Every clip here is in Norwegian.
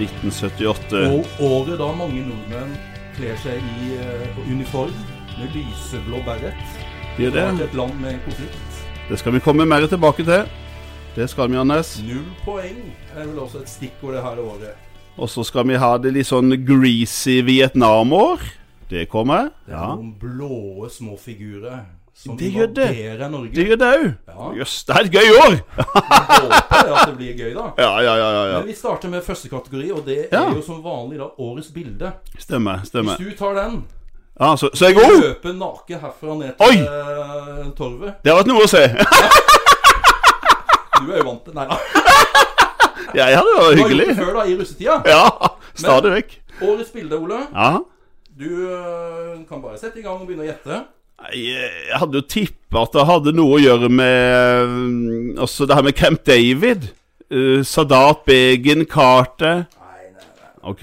1978. Og året da mange nordmenn kler seg i eh, på uniform med lyseblå beret. De er Det er det. et land med konflikt. det skal vi komme mer tilbake til. Det skal vi, Anders. Null poeng er vel også et stikkord det her året. Og så skal vi ha det litt sånn greasy Vietnam-år. Det kommer. Det er Ja. noen blåe små figurer som Det gjør det. invaderer Norge. Det gjør det òg. Ja. Jøss, det er et gøy år! Håper jeg at det blir gøy, da. Ja, ja, ja. ja, ja. Men vi starter med første kategori, og det Ja. er jo som vanlig da årets bilde. Stemmer. stemmer. Hvis du tar den, Ja, så, så er jeg god! løper naken herfra ned til Oi! eh, torvet Det har vært noe å se. Du er jo vant til Nei da. Jeg hadde det var Du har gjort det hyggelig. før, da, i russetida. Ja, stadig vekk. Årets bilde, Ole. Ja. Du eh, kan bare sette i gang og begynne å gjette. Nei, Jeg hadde jo tippa at det hadde noe å gjøre med mm, Altså det her med Camp David. Eh, Sadat Begin, Carter Nei, nei, nei. OK.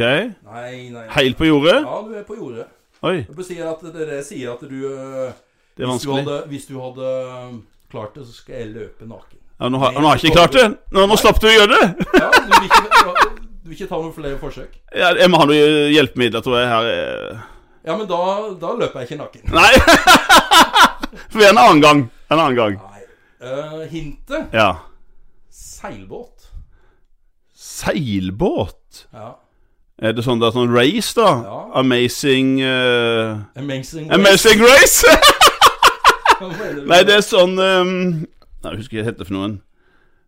nei, nei. Helt på jordet? Ja, du er på jordet. Oi, Jeg bør si at dere sier at du eh, det er hvis du, vanskelig. hadde, hvis du hadde eh, klart det, så skal jeg løpe naken. Ja, nå, har, nå har jeg ikke klart det. Nå, nå slapp du å gjøre det. Ja, du vil ikke, du vil ikke ta noen flere forsøk? Ja, Jeg må ha noe hjelpemidler, tror jeg. her eh. Ja, men da, da løper jeg ikke naken. Nei! For en annen gang. En annen gang. Nei. Eh, hintet Ja. seilbåt. Seilbåt? Ja. Er det sånn det er sånn race, da? Ja. Amazing eh, Amazing. Amazing race! Hva mener du? Nei, det er sånn um, Nei, jeg husker ikke hva det heter for noen.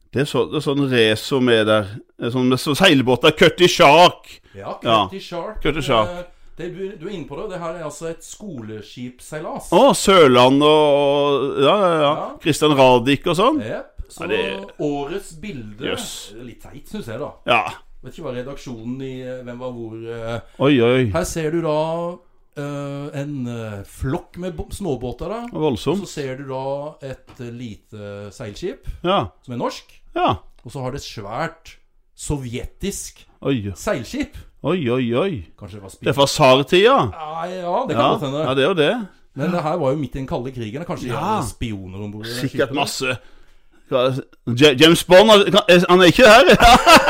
Det er, så, det er sånn race som er der. Det er sånn, det er sånn seilbåter. Cutty Shark. Ja, Ja. Cutty Shark. Cutty Shark. Eh, Det, du, du er inne på det. Det her er altså et skoleskipseilas. Å, Sørland og Ja, ja, ja. Ja. Christian Radich og sånn. Jep. Så Ja, det- årets bilde Jøss. Det er Litt teit, syns jeg, da. Ja. Vet ikke hva redaksjonen i eh, Hvem var hvor eh. Oi, oi. Her ser du da eh, en eh, flokk med bo- småbåter. da Voldsomt. Så ser du da et eh, lite seilskip Ja. som er norsk. ja. Og så har det et svært sovjetisk Oi, seilskip. oi, oi. oi. Kanskje det var Det spill... er fra tsartida. Nei, ja, det kan Ja. godt hende. ja, det er jo det. Men det her var jo midt i den kalde krigen. Kanskje de Ja. hadde spioner om bord? i det Sikkert skipet. masse Hva- Ja- James Bond han- Han er ikke her.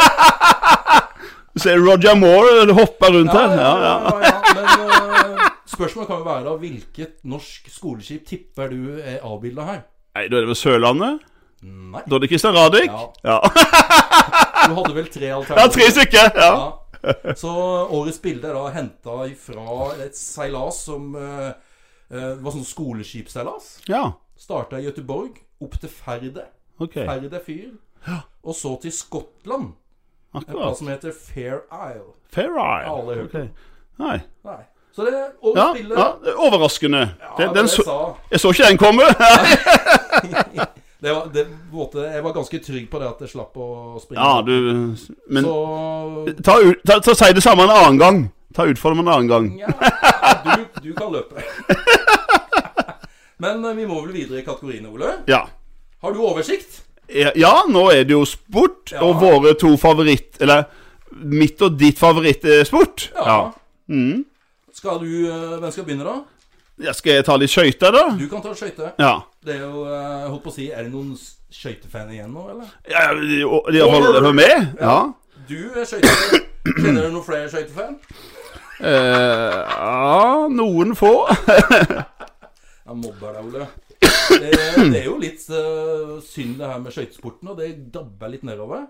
Du ser Roger Moore hoppe rundt Ja, her. ja, Ja, ja. ja, ja. Men eh, spørsmålet kan jo være da hvilket norsk skoleskip tipper du er avbilda her? Nei, da er det vel Sørlandet? Nei. Da er det Christian Radich? Ja. Ja. Du hadde vel tre Ja, tre alternativer? stykker. Ja. Ja. Så årets bilde er da henta fra et seilas som eh, eh, var sånn skoleskipsseilas. ja. Starta i Gøteborg, opp til Ferde. Ok. Ferde fyr. Og så til Skottland. En plass Akkurat. som heter Fair Isle. Fair Alle Isle. hørt Ok. Nei. Nei. Så det er årets Ja, bilde. ja, det er overraskende. Ja, Den, det den så, sa- jeg så ikke den komme. Det var, det, på en måte, jeg var ganske trygg på det at jeg slapp å springe. Ja, du Men Så ta, ut- ta, ta, si det samme en annen gang. Ta utformen en annen gang. ja, du, du kan løpe. Men eh, vi må vel videre i kategoriene, Ole. Ja. Har du oversikt? Ja, nå er det jo sport, Ja. og våre to favoritt... Eller mitt og ditt favoritt er sport. Mm. Skal du, eh, hvem skal begynne, da? Ja, skal jeg ta litt skøyter, da? Du kan ta skøyter. Ja. Det er jo eh, jeg holdt på å si, er det noen s- skøytefan igjen nå, eller? ja de, de holder det med? Ja. Du er skøytefan. Kjenner du noen flere skøytefan? Eh, ja, noen få. Jeg mobber deg, Ole. Det, det er jo litt eh, synd det her med skøytesporten, og det dabber litt nedover.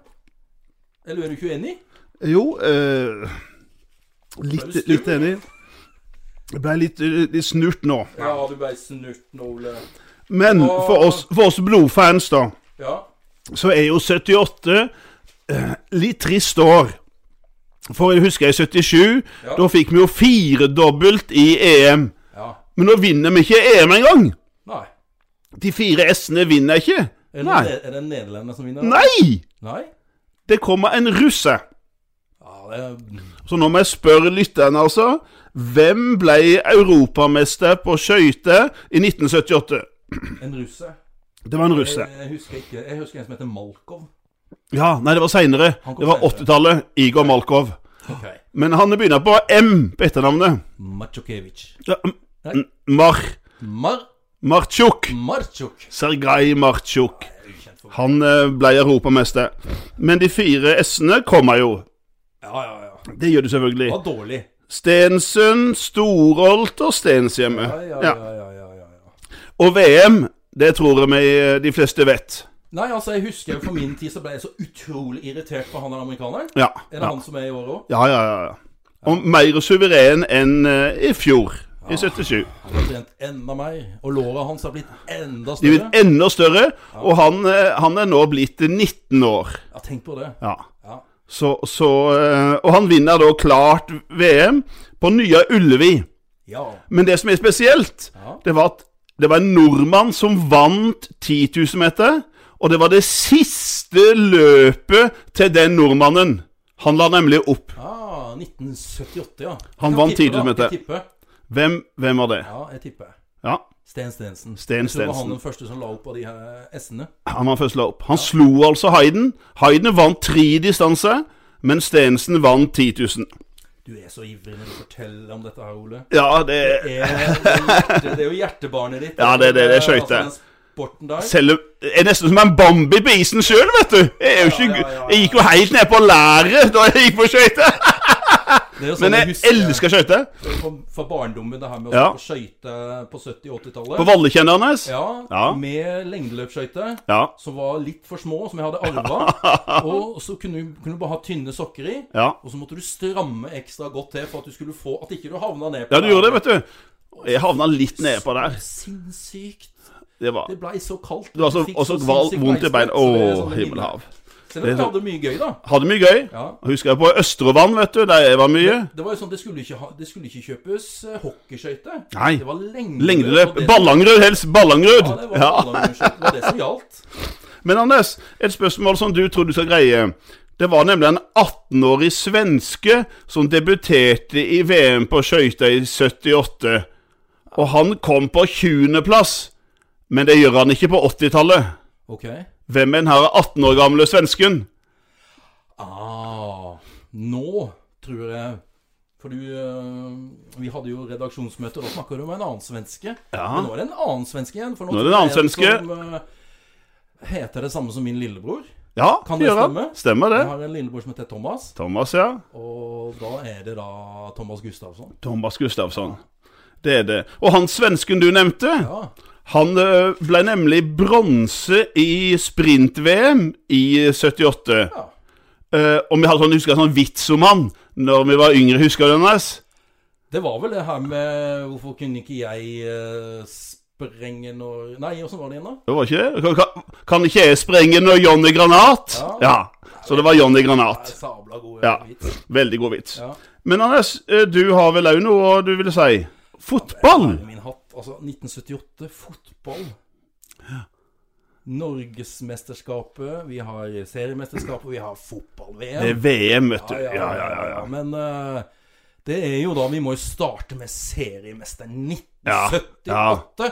Eller er du ikke uenig? Jo, eh, litt, Ble du litt enig. Jeg ble litt, litt snurt nå. Ja, du ble snurt nå, Ole. Men for oss, for oss blodfans, da, Ja. så er jo 78 eh, litt trist år. For jeg husker i 77, Ja. da fikk vi jo firedobbelt i EM. ja. Men nå vinner vi ikke EM engang! Nei. De fire S-ene vinner ikke. Er det, Nei. ne- er det nederlender som vinner? Nei! Nei? Det kommer en russer. Ja, det er... Så nå må jeg spørre lytterne, altså. Hvem ble europamester på skøyter i 1978? En russer. Det var en Jeg, russer. jeg husker ikke Jeg husker en som heter Malkov. Ja, nei, det var seinere. Han kom Det var senere. 80-tallet. Igor Malkov. Ok. Men han begynner på M på etternavnet. Machokevic. Ja, m- Nei. m- Mar... Mar... Marchuk. Marchuk. Sergej Marchuk. Jeg er ukjent for meg. Han eh, ble europamester. Men de fire S-ene kommer jo. Ja, ja, ja. Det gjør du selvfølgelig. var dårlig. Stensund, Storholt og Stenshjemmet. Ja, ja, ja, ja, ja, ja, ja. Og VM, det tror jeg meg eh, de fleste vet. Nei, altså, jeg husker jo for min tid så ble jeg så utrolig irritert på han der amerikaneren. Ja. Er det Ja, han som er i år òg? ja, ja. ja, ja. Og mer suveren enn eh, i fjor, i Ah. 77. Han har trent enda mer, og låra hans har blitt enda De blir større. enda større, og han, eh, han er nå blitt 19 år. Ja, tenk på det. Ja. Ja. Så, så, eh, og han vinner da klart VM på nye Ullevi. ja. Men det som er spesielt, Ja. det var at det var en nordmann som vant 10 000 meter. Og det var det siste løpet til den nordmannen. Han la nemlig opp. Ah, 1978, ja. Jeg Han kan vant tippe, da. 10 000 meter. Jeg tipper. Hvem, hvem var det? Ja, jeg tipper. Ja, Sten Stensen. Sten Jeg tror det var Stensen. han den første som la opp på de her eh, S-ene. Han var først la opp. Han slo altså Hayden. Hayden vant tre distanser, men Stensen vant 10 000. Du er så ivrig når du forteller om dette her, Ole. Ja, det Er, det, er hjerte, det er jo hjertebarnet ditt. Ja, det- det- det skjøyte jeg. Altså, den sporten der. selv, om- Jeg er nesten som en Bambi på isen sjøl, vet du. Jeg, er jo Ja, ikke, ja, ja, ja. jeg gikk jo helt ned på læret da jeg gikk på skøyter. Det er jo sånn Men jeg husker elsker skøyter. fra, fra barndommen, det her med å Ja. stå på skøyter på 70- og På 80-tallet. Vallekjennerne. Ja, Ja. med lengdeløpsskøyter. Ja. Som var litt for små, som jeg hadde arva. Og så kunne du, kunne du bare ha tynne sokker i. ja. Og så måtte du stramme ekstra godt til for at du skulle få At ikke du havna ned på Ja, du gjorde det, vet du. Jeg havna litt nedpå der. Sinnssykt. Det var Det blei så kaldt. det var altså, så, Fikk også så val, sinnssykt vondt i beina. beinsprett, så det er sånn Å, sånne minner. himmelhav. Selv om Det vi er så- hadde mye gøy, da. Hadde mye gøy. Ja. Husker jeg på Østrevann, vet du, der jeg var mye. Det var jo sånn, det skulle ikke, ha, det skulle ikke kjøpes eh, hockeyskøyter. Nei. Det var lengdeløp. og Lengdeløp. det- Ballangrud helst. Ballangrud! Ja, det var Ja. ballangskøyter. Det var det som gjaldt. Men Anders, et spørsmål som du tror du skal greie. Det var nemlig en 18-årig svenske som debuterte i VM på skøyter i 78. Og han kom på 20.-plass. Men det gjør han ikke på 80-tallet. Ok. Hvem er den her 18 år gamle svensken? Ah, nå tror jeg For du eh, Vi hadde jo redaksjonsmøte, og da snakka du om en annen svenske. Men nå er det en annen svenske igjen. For nå, Nå er det en tror annen jeg en Som, eh, heter det samme som min lillebror. Ja, Kan det gjør han. stemme? Stemmer det. Jeg har en lillebror som heter Thomas, Thomas, ja. og da er det da Thomas Gustavsson. Thomas Gustafsson. Det er det. Og han svensken du nevnte, Ja. han ø, ble nemlig bronse i sprint-VM i 78. ja. Eh, og vi hadde sånn, husker jeg, sånn vits om han når vi var yngre, husker du den? Anders? Det var vel det her med Hvorfor kunne ikke jeg eh, sprenge når Nei, åssen var det igjen, da? Det var ikke det? Kan, kan, kan ikke jeg sprenge når Johnny Granat? Ja. Så det var Johnny Nei, Granat. Sabla god Ja. vits. Veldig god vits. Ja. Men Anders, ø, du har vel òg noe du ville si? Fotball? Herre Min hatt. Altså, 1978, fotball. Norgesmesterskapet, vi har seriemesterskapet, vi har Det fotball-VM. er VM, vet du. Ja, ja, ja. ja. Men eh, det er jo da Vi må jo starte med seriemesteren 1978. Ja, Da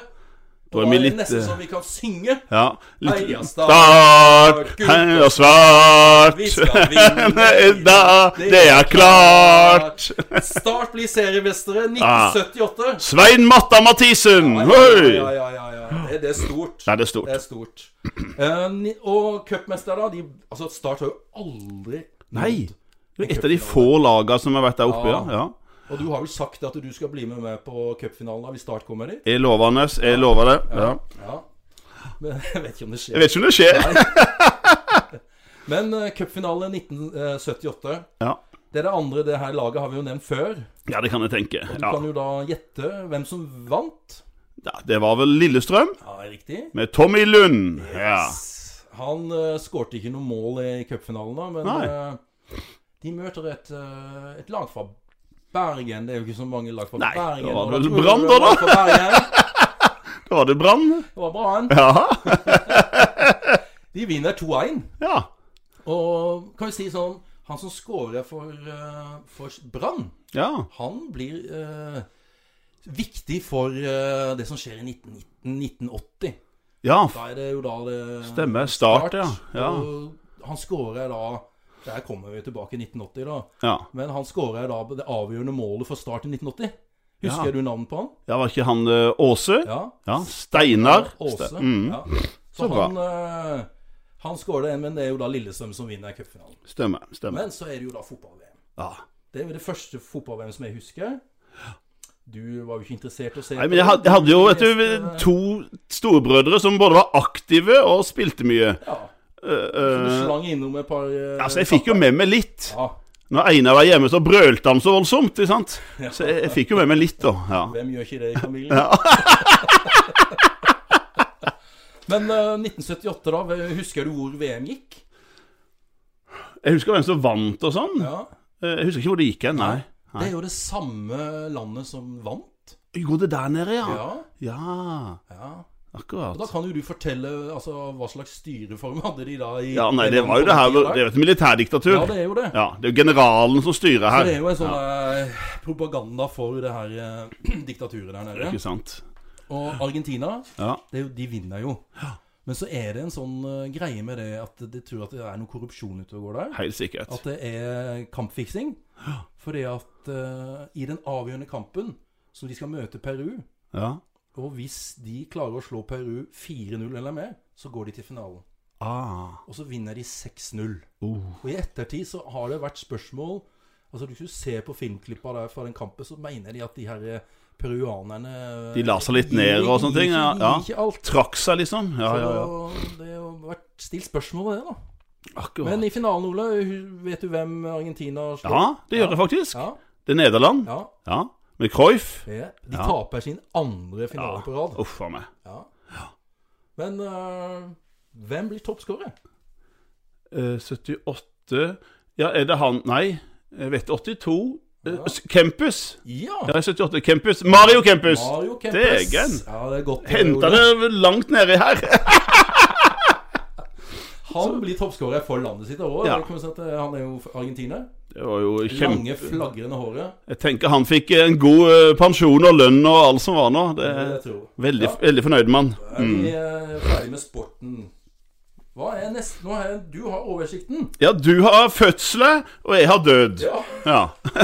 Da er er vi det litt, nesten eh, som vi kan synge. ja. Litt Heia Start, Start, gult og heia Svart. Vi skal vinne i dag, det er klart. Start blir seriemestere 1978. Svein Matta Mathisen! Ja, Oi! ja, ja, ja, ja. Det, det er stort. Nei, det er stort. Det er stort. Eh, ni- og cupmester, da de, altså Start har jo aldri Nei. Det er et av de få lagene som har vært der oppe, ja. ja. Og du har vel sagt at du skal bli med meg på cupfinalen da, hvis Start kommer dit? Jeg lover, Anders. Jeg lover det. Ja. Ja. Men jeg vet ikke om det Jeg skjer. vet ikke om det skjer. Men uh, cupfinale 1978. Ja. Det er det andre det her laget har vi jo nevnt før. ja, det kan jeg tenke. Du Ja. kan jo da gjette hvem som vant. Ja, det var vel Lillestrøm Ja, riktig. med Tommy Lund. Ja. Han uh, skårte ikke noe mål i cupfinalen, da, men Nei. eh, de møter et, eh, et lag fra Bergen. Det er jo ikke så mange lag fra Nei, Bergen. da var og det vel tror jeg Brann det da, var lag fra Bergen. Da var det Brann. Det var Brann. Ja. De vinner 2-1. ja. Og kan vi si sånn Han som scorer for, eh, for Brann, Ja. han blir eh, viktig for eh, det som skjer i 1919, 1980. Ja, Da er det jo da det stemmer. Start, ja. Ja. Og han scorer da Der kommer vi tilbake i 1980, da. ja. Men han skårer da det avgjørende målet for Start i 1980. Husker Ja. du navnet på han? Ja, var ikke han eh, Åse? Ja. Ja. Steinar. Åse. Ste- Mm, Ja. Så, Så bra. han eh, Han skårer en, men det er jo da Lillestrøm som vinner cupfinalen. stemmer. stemmer. Men så er det jo da fotball-VM. Ja. Det er vel det første fotball-VM som jeg husker. Du var jo ikke interessert i å se Nei, men jeg hadde, jeg hadde jo vet du, to storebrødre som både var aktive og spilte mye. Ja, Eh, så du eh, slang innom et par eh, altså, jeg fikk jo med meg litt. Ja, Når Einar var hjemme, så brølte han så voldsomt. ikke sant? Ja. Så jeg, jeg fikk jo med meg litt, da. Ja. Hvem gjør ikke det i familien? Men eh, 1978, da. hva- Husker du hvor VM gikk? Jeg husker hvem som vant og sånn. Ja. Eh, Jeg husker ikke hvor det gikk hen. Nei. Det er jo det samme landet som vant. Jo, det der nede, ja. Ja. Ja, ja. Og akkurat. da kan jo du fortelle altså, hva slags styreform hadde de da i Ja, nei, det var jo det her Det er jo et Ja, militærdiktatur. det er jo det. Ja, det er jo generalen som styrer Så her. det er jo en sånn eh, propaganda for det her eh, diktaturet der nede. Ikke sant? Og Argentina, Ja. det er jo, de vinner jo. Men så er det en sånn eh, greie med det at de tror at det er noe korrupsjon ute og går der. Helt sikkert. At det er kampfiksing. Fordi at eh, i den avgjørende kampen som de skal møte Peru Ja. Og hvis de klarer å slå Peru 4-0 eller mer, så går de til finalen. Ah. Og så vinner de 6-0. Uh. Og i ettertid så har det vært spørsmål Altså Hvis du ser på filmklippa der fra den kampen, så mener de at de her eh, peruanerne De la seg litt gir- ned og gir sånne ting, ikke- ja, ja. gir Ikke alt. Trakk seg, liksom. Ja, ja, ja. Så det har vært stilt spørsmål ved det, da. Akkurat. Men i finalen, Ole, hu- vet du hvem Argentina slår? Ja, det gjør jeg faktisk. Ja, Det er Nederland. ja, Ja. Med Cruyff. det. De Ja. taper sin andre finale Ja. på rad. Uff a meg. Ja. Men eh, hvem blir toppskårer? Eh, 78 Ja, er det han Nei, jeg vet 82. Eh, Ja. s- Kempus. Ja! Ja, 78. Kempus. Mario Kempus! Mario Kempes. Degen. Ja, det er godt. eh, Henta Ole. det langt nedi her. Han blir toppskårer for landet sitt òg. Ja. eh, Han er jo argentiner. Det var jo Lange, kjempe... flagrende håret. Jeg tenker han fikk en god eh, pensjon og lønn og alt som var nå. Det Det vil er jeg tro. veldig, Ja. veldig fornøyd Mm. med han. Er vi eh, ferdig med sporten? Hva er neste? Nå er du har oversikten. Ja, du har fødsler, og jeg har død. Ja. Ja, Det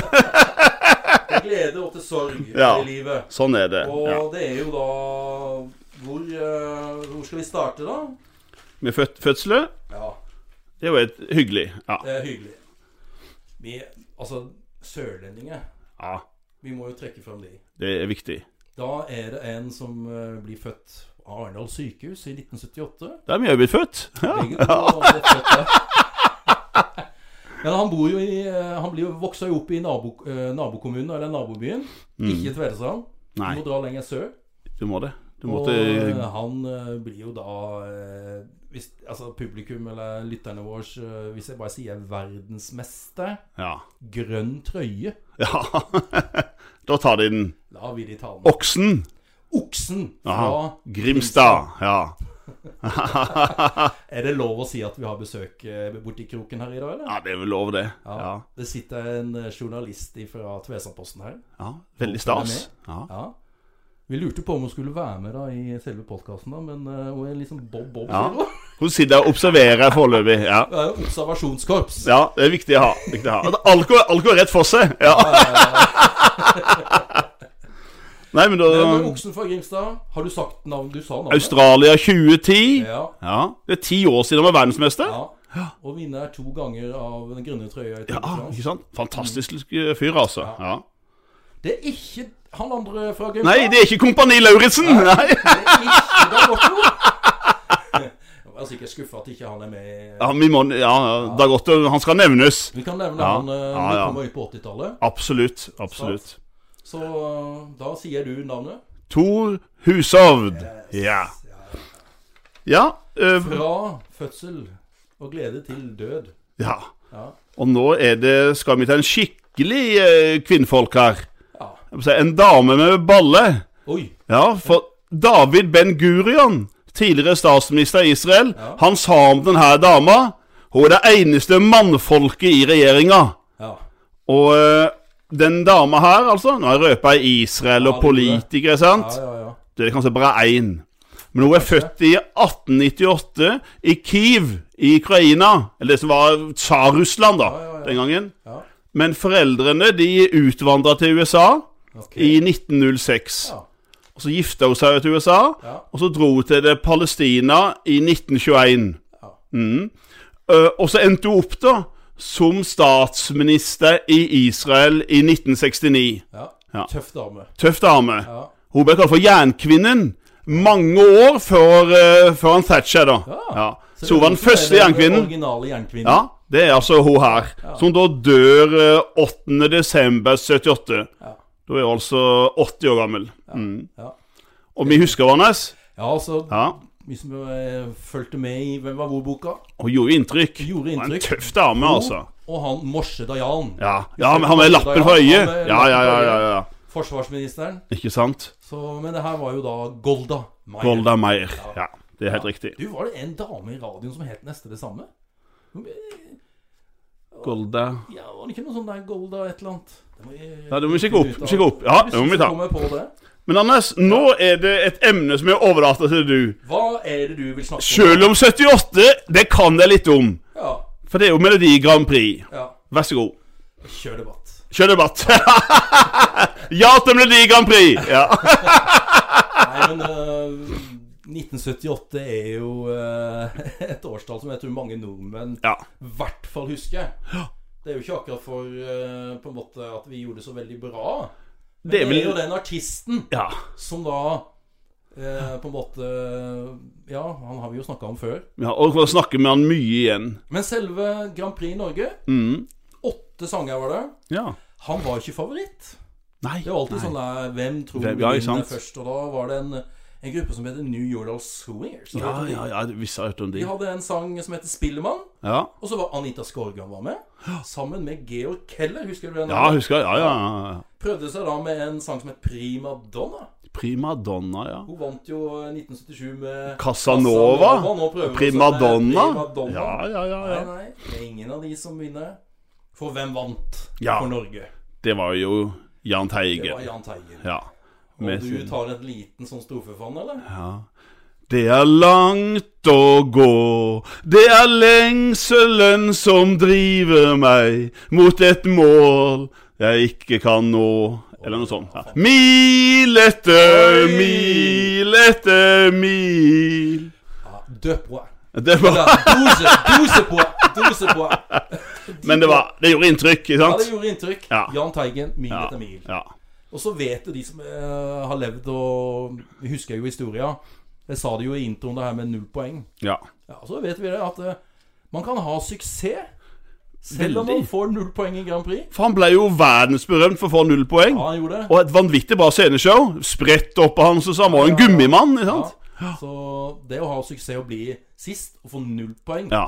er glede og til sorg Ja. i livet. sånn er det. Og Ja. det er jo da hvor, eh, hvor skal vi starte, da? Med fød fødsler, Ja, det er jo helt hyggelig. Ja. det er hyggelig. Vi Altså, sørlendinger. ja, Vi må jo trekke frem de. det er viktig. Da er det en som eh, blir født av Arendal sykehus i 1978. Der er vi jo blitt født. Ja. Begge to var født der. Men han bor jo i eh, Han blir jo voksa jo opp i nabo, eh, nabokommunen, eller nabobyen. Ikke Tvedestrand. Du Mm. Nei, må dra lenger sør. du må det. Du Og måtte eh, han eh, blir jo da eh, hvis, Altså publikum eller lytterne våre, eh, hvis jeg bare sier verdensmester, Ja. grønn trøye, Ja, da tar de den. da vil de ta med Oksen oksen Aha. fra Grimstad. Ja. Er det lov å si at vi har besøk eh, borti kroken her i dag, eller? ja, det er vel lov, det. Ja, Det sitter en eh, journalist fra Tvesandposten her. ja. Veldig stas. Ja. Ja. Vi lurte på om hun skulle være med da i selve podkasten, men eh, hun er liksom Bob Bob. Ja. sier hun. Hun sitter og observerer foreløpig. Ja. Hun er jo observasjonskorps. ja, det er viktig å ha. Viktig å ha. Alt går, alt går rett for seg. Ja. Nei, men da Men Oksen fra Grimstad, har du sagt navn? Du sa navnet? Australia 2010. Ja. Ja, Det er ti år siden han var verdensmester. ja. Og vinner to ganger av den grønne trøya i Ja, Tyskland. ikke sant? Fantastisk eh, fyr, altså. Ja. Det er ikke han andre fra Grimstad. Nei, det er ikke Kompani Lauritzen! Nei. Det er ikke Dag Otto. Jeg er sikkert skuffa at ikke han er med. Ja, vi må, ja, Dag Otto, han skal nevnes. Vi kan nevne Ja. han eh, når Ja, vi ja. kommer ut på 80-tallet. Absolutt. Absolutt. Så eh, da sier du navnet. Tor Hushovd. Ja. Ja, eh, Fra fødsel og glede til død. ja. Ja. Og nå er det, skal vi til en skikkelig eh, kvinnfolk her. ja. Jeg må si, En dame med balle. Oi. Ja, for David Ben Gurion, tidligere statsminister i Israel, Ja. han sa om denne dama Hun er det eneste mannfolket i regjeringa. Ja. Og eh, den dama her, altså Nå har jeg røpa Israel og Ja, det gjorde politikere, sant? ja, ja, ja. Det er kanskje bare én. Men hun er født i 1898 i Kiev i Ukraina. Eller det som var Tsar-Russland, da, ja, ja. den gangen. Ja. Men foreldrene de utvandra til USA Ok. i 1906. Ja. Og så gifta hun seg til USA, Ja. og så dro hun til det Palestina i 1921. Ja. Mm. Eh, og så endte hun opp da som statsminister i Israel i 1969. Ja. Ja. Tøff dame. Tøff dame. Ja. Hun ble kalt for Jernkvinnen mange år før, eh, før han Thatcher, da. Ja. Ja. Så hun var den det er første den jernkvinnen. Originale jernkvinnen. Ja, det er altså hun her. Som da dør eh, 8. desember 78. Ja. Da er hun altså 80 år gammel. Mm. Ja. Og vi husker hverandre. Ja, altså, Ja. vi som eh, fulgte med i Hvem var hvor-boka, Hun gjorde inntrykk. gjorde Hun var En inntrykk. tøff dame, altså. Og han Morse Dayan, Ja, ja men han med lappen for øyet. Ja, ja, ja. ja, ja. forsvarsministeren. Ikke sant? Så, men det her var jo da Golda Meir. Golda Meir. Ja, det er helt riktig. Du, var det en dame i radioen som het neste det samme? eh, Golda Ja, var det ikke noe sånn der Golda et eller annet? Det må vi, eh, Nei, det må vi sjekke opp. Sjekke opp. Ja, det må vi ta. Kommer jeg på det. Men Anders, nå er det et emne som jeg overlater til du. Hva er det du vil snakke om? Sjøl om 78, det kan jeg litt om. Ja, For det er jo Melodi Grand Prix. ja. Vær så god. Kjør debatt. Kjør debatt. ja til Melodi Grand Prix! Ja. Nei, men øh, 1978 er jo øh, et årstall som jeg tror mange nordmenn ja. i hvert fall husker. Det er jo ikke akkurat for øh, på en måte at vi gjorde det så veldig bra. Men Det det er er, vel jo den artisten Ja. som da øh, på en måte Ja, han har vi jo snakka om før. ja og vi snakker med han mye igjen. Men selve Grand Prix Norge Mm. Åtte sanger var det. Ja. Han var ikke favoritt. Nei. Det var alltid sånn der Hvem tror Hvem- vi ja, ikke vinner sant? først? Og da var det en, en gruppe som heter New Yordal Swingers. Ja, ja, ja. det- Visst har jeg hørt om De de. hadde en sang som heter Spillemann. Ja. Og så var Anita Skorgan var med, sammen med Georg Keller. Husker du den? Ja, husker jeg. Ja, ja. ja. Prøvde seg da med en sang som het Prima Donna. Prima Donna, ja. Hun vant jo 1977 med Casanova. Nå prøver hun Prima seg med Donna. Prima Donna. Ja, ja, ja. ja. Nei, nei, det er ingen av de som vinner. For hvem vant Ja. for Norge? Det var jo Jahn Det var Teigen. Jahn Teigen. Ja. Og Med du sin- tar en liten sånn strofe for han, eller? Ja. Det er langt å gå, det er lengselen som driver meg mot et mål jeg ikke kan nå. Eller noe sånt. Ja. Mil etter Oi! mil etter mil Ja, Deux points. det var, Eller, douze, douze points. Douze points. Men det, var, det gjorde inntrykk, ikke Ja, det sant? gjorde inntrykk. Ja. Jahn Teigen, mil Ja. etter mil. Ja. Og så vet jo de som eh, har levd og Vi husker jo historia. Jeg sa det jo i introen, det her med null poeng. ja. Ja, og Så vet vi det at eh, man kan ha suksess selv om Veldig. man får null poeng i Grand Prix. For han ble jo verdensberømt for å få null poeng. Ja, han gjorde det. Og et vanvittig bra sceneshow. Spredt opp av han som sa han var Ja. en gummimann, ikke sant? Ja. Så det å ha suksess og bli sist og få null poeng, Ja.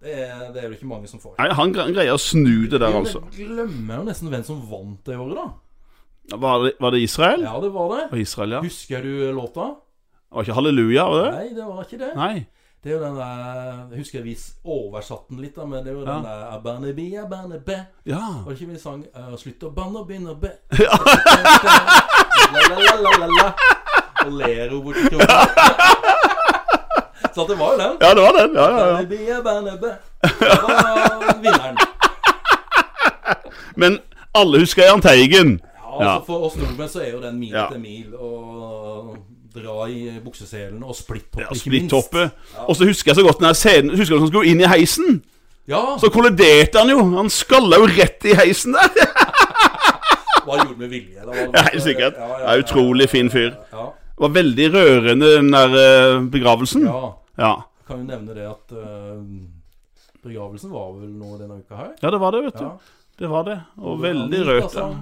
det, er, det er det ikke mange som får. Nei, han gre- greier å snu det der, Vi altså. glemmer jo nesten hvem som vant det året, da. Var det, var det Israel? Ja, det var det. Og Israel, ja. Husker du låta? Det var ikke halleluja, var det? Nei, det var ikke det. Nei. Det er jo den der Jeg husker vi oversatte den litt, da, men det er jo den der Abanebi, abanebe Ja. Var det ikke vi sang eh, 'Slutt å banne og begynne å be'? La, la, la, la, la. Og ler hun borti kroken. Så at det var jo den. Ja, det var den. Ja, ja, ja. Abanebi, abanebe Det var vinneren. Men alle husker Jahn Teigen. Ja, altså For oss nordmenn så er jo den mil Ja. etter mil og dra i bukseselen og splitthoppe, Ja, ikke minst. Splittoppet. Og så husker jeg så godt den her scenen Husker du når han skulle inn i heisen? Ja, Så kolliderte han jo. Han skalla jo rett i heisen der. hva gjorde du med vilje? Da var det- Ja, Helt sikkert. Ja, ja, Det er utrolig fin fyr. Ja, Det var veldig rørende, den der eh, begravelsen. ja. Ja. Kan jo nevne det at øh, begravelsen var vel nå denne uka her. Ja, det var det, vet du. Ja. Det var det. Og veldig Anita rørt. sang,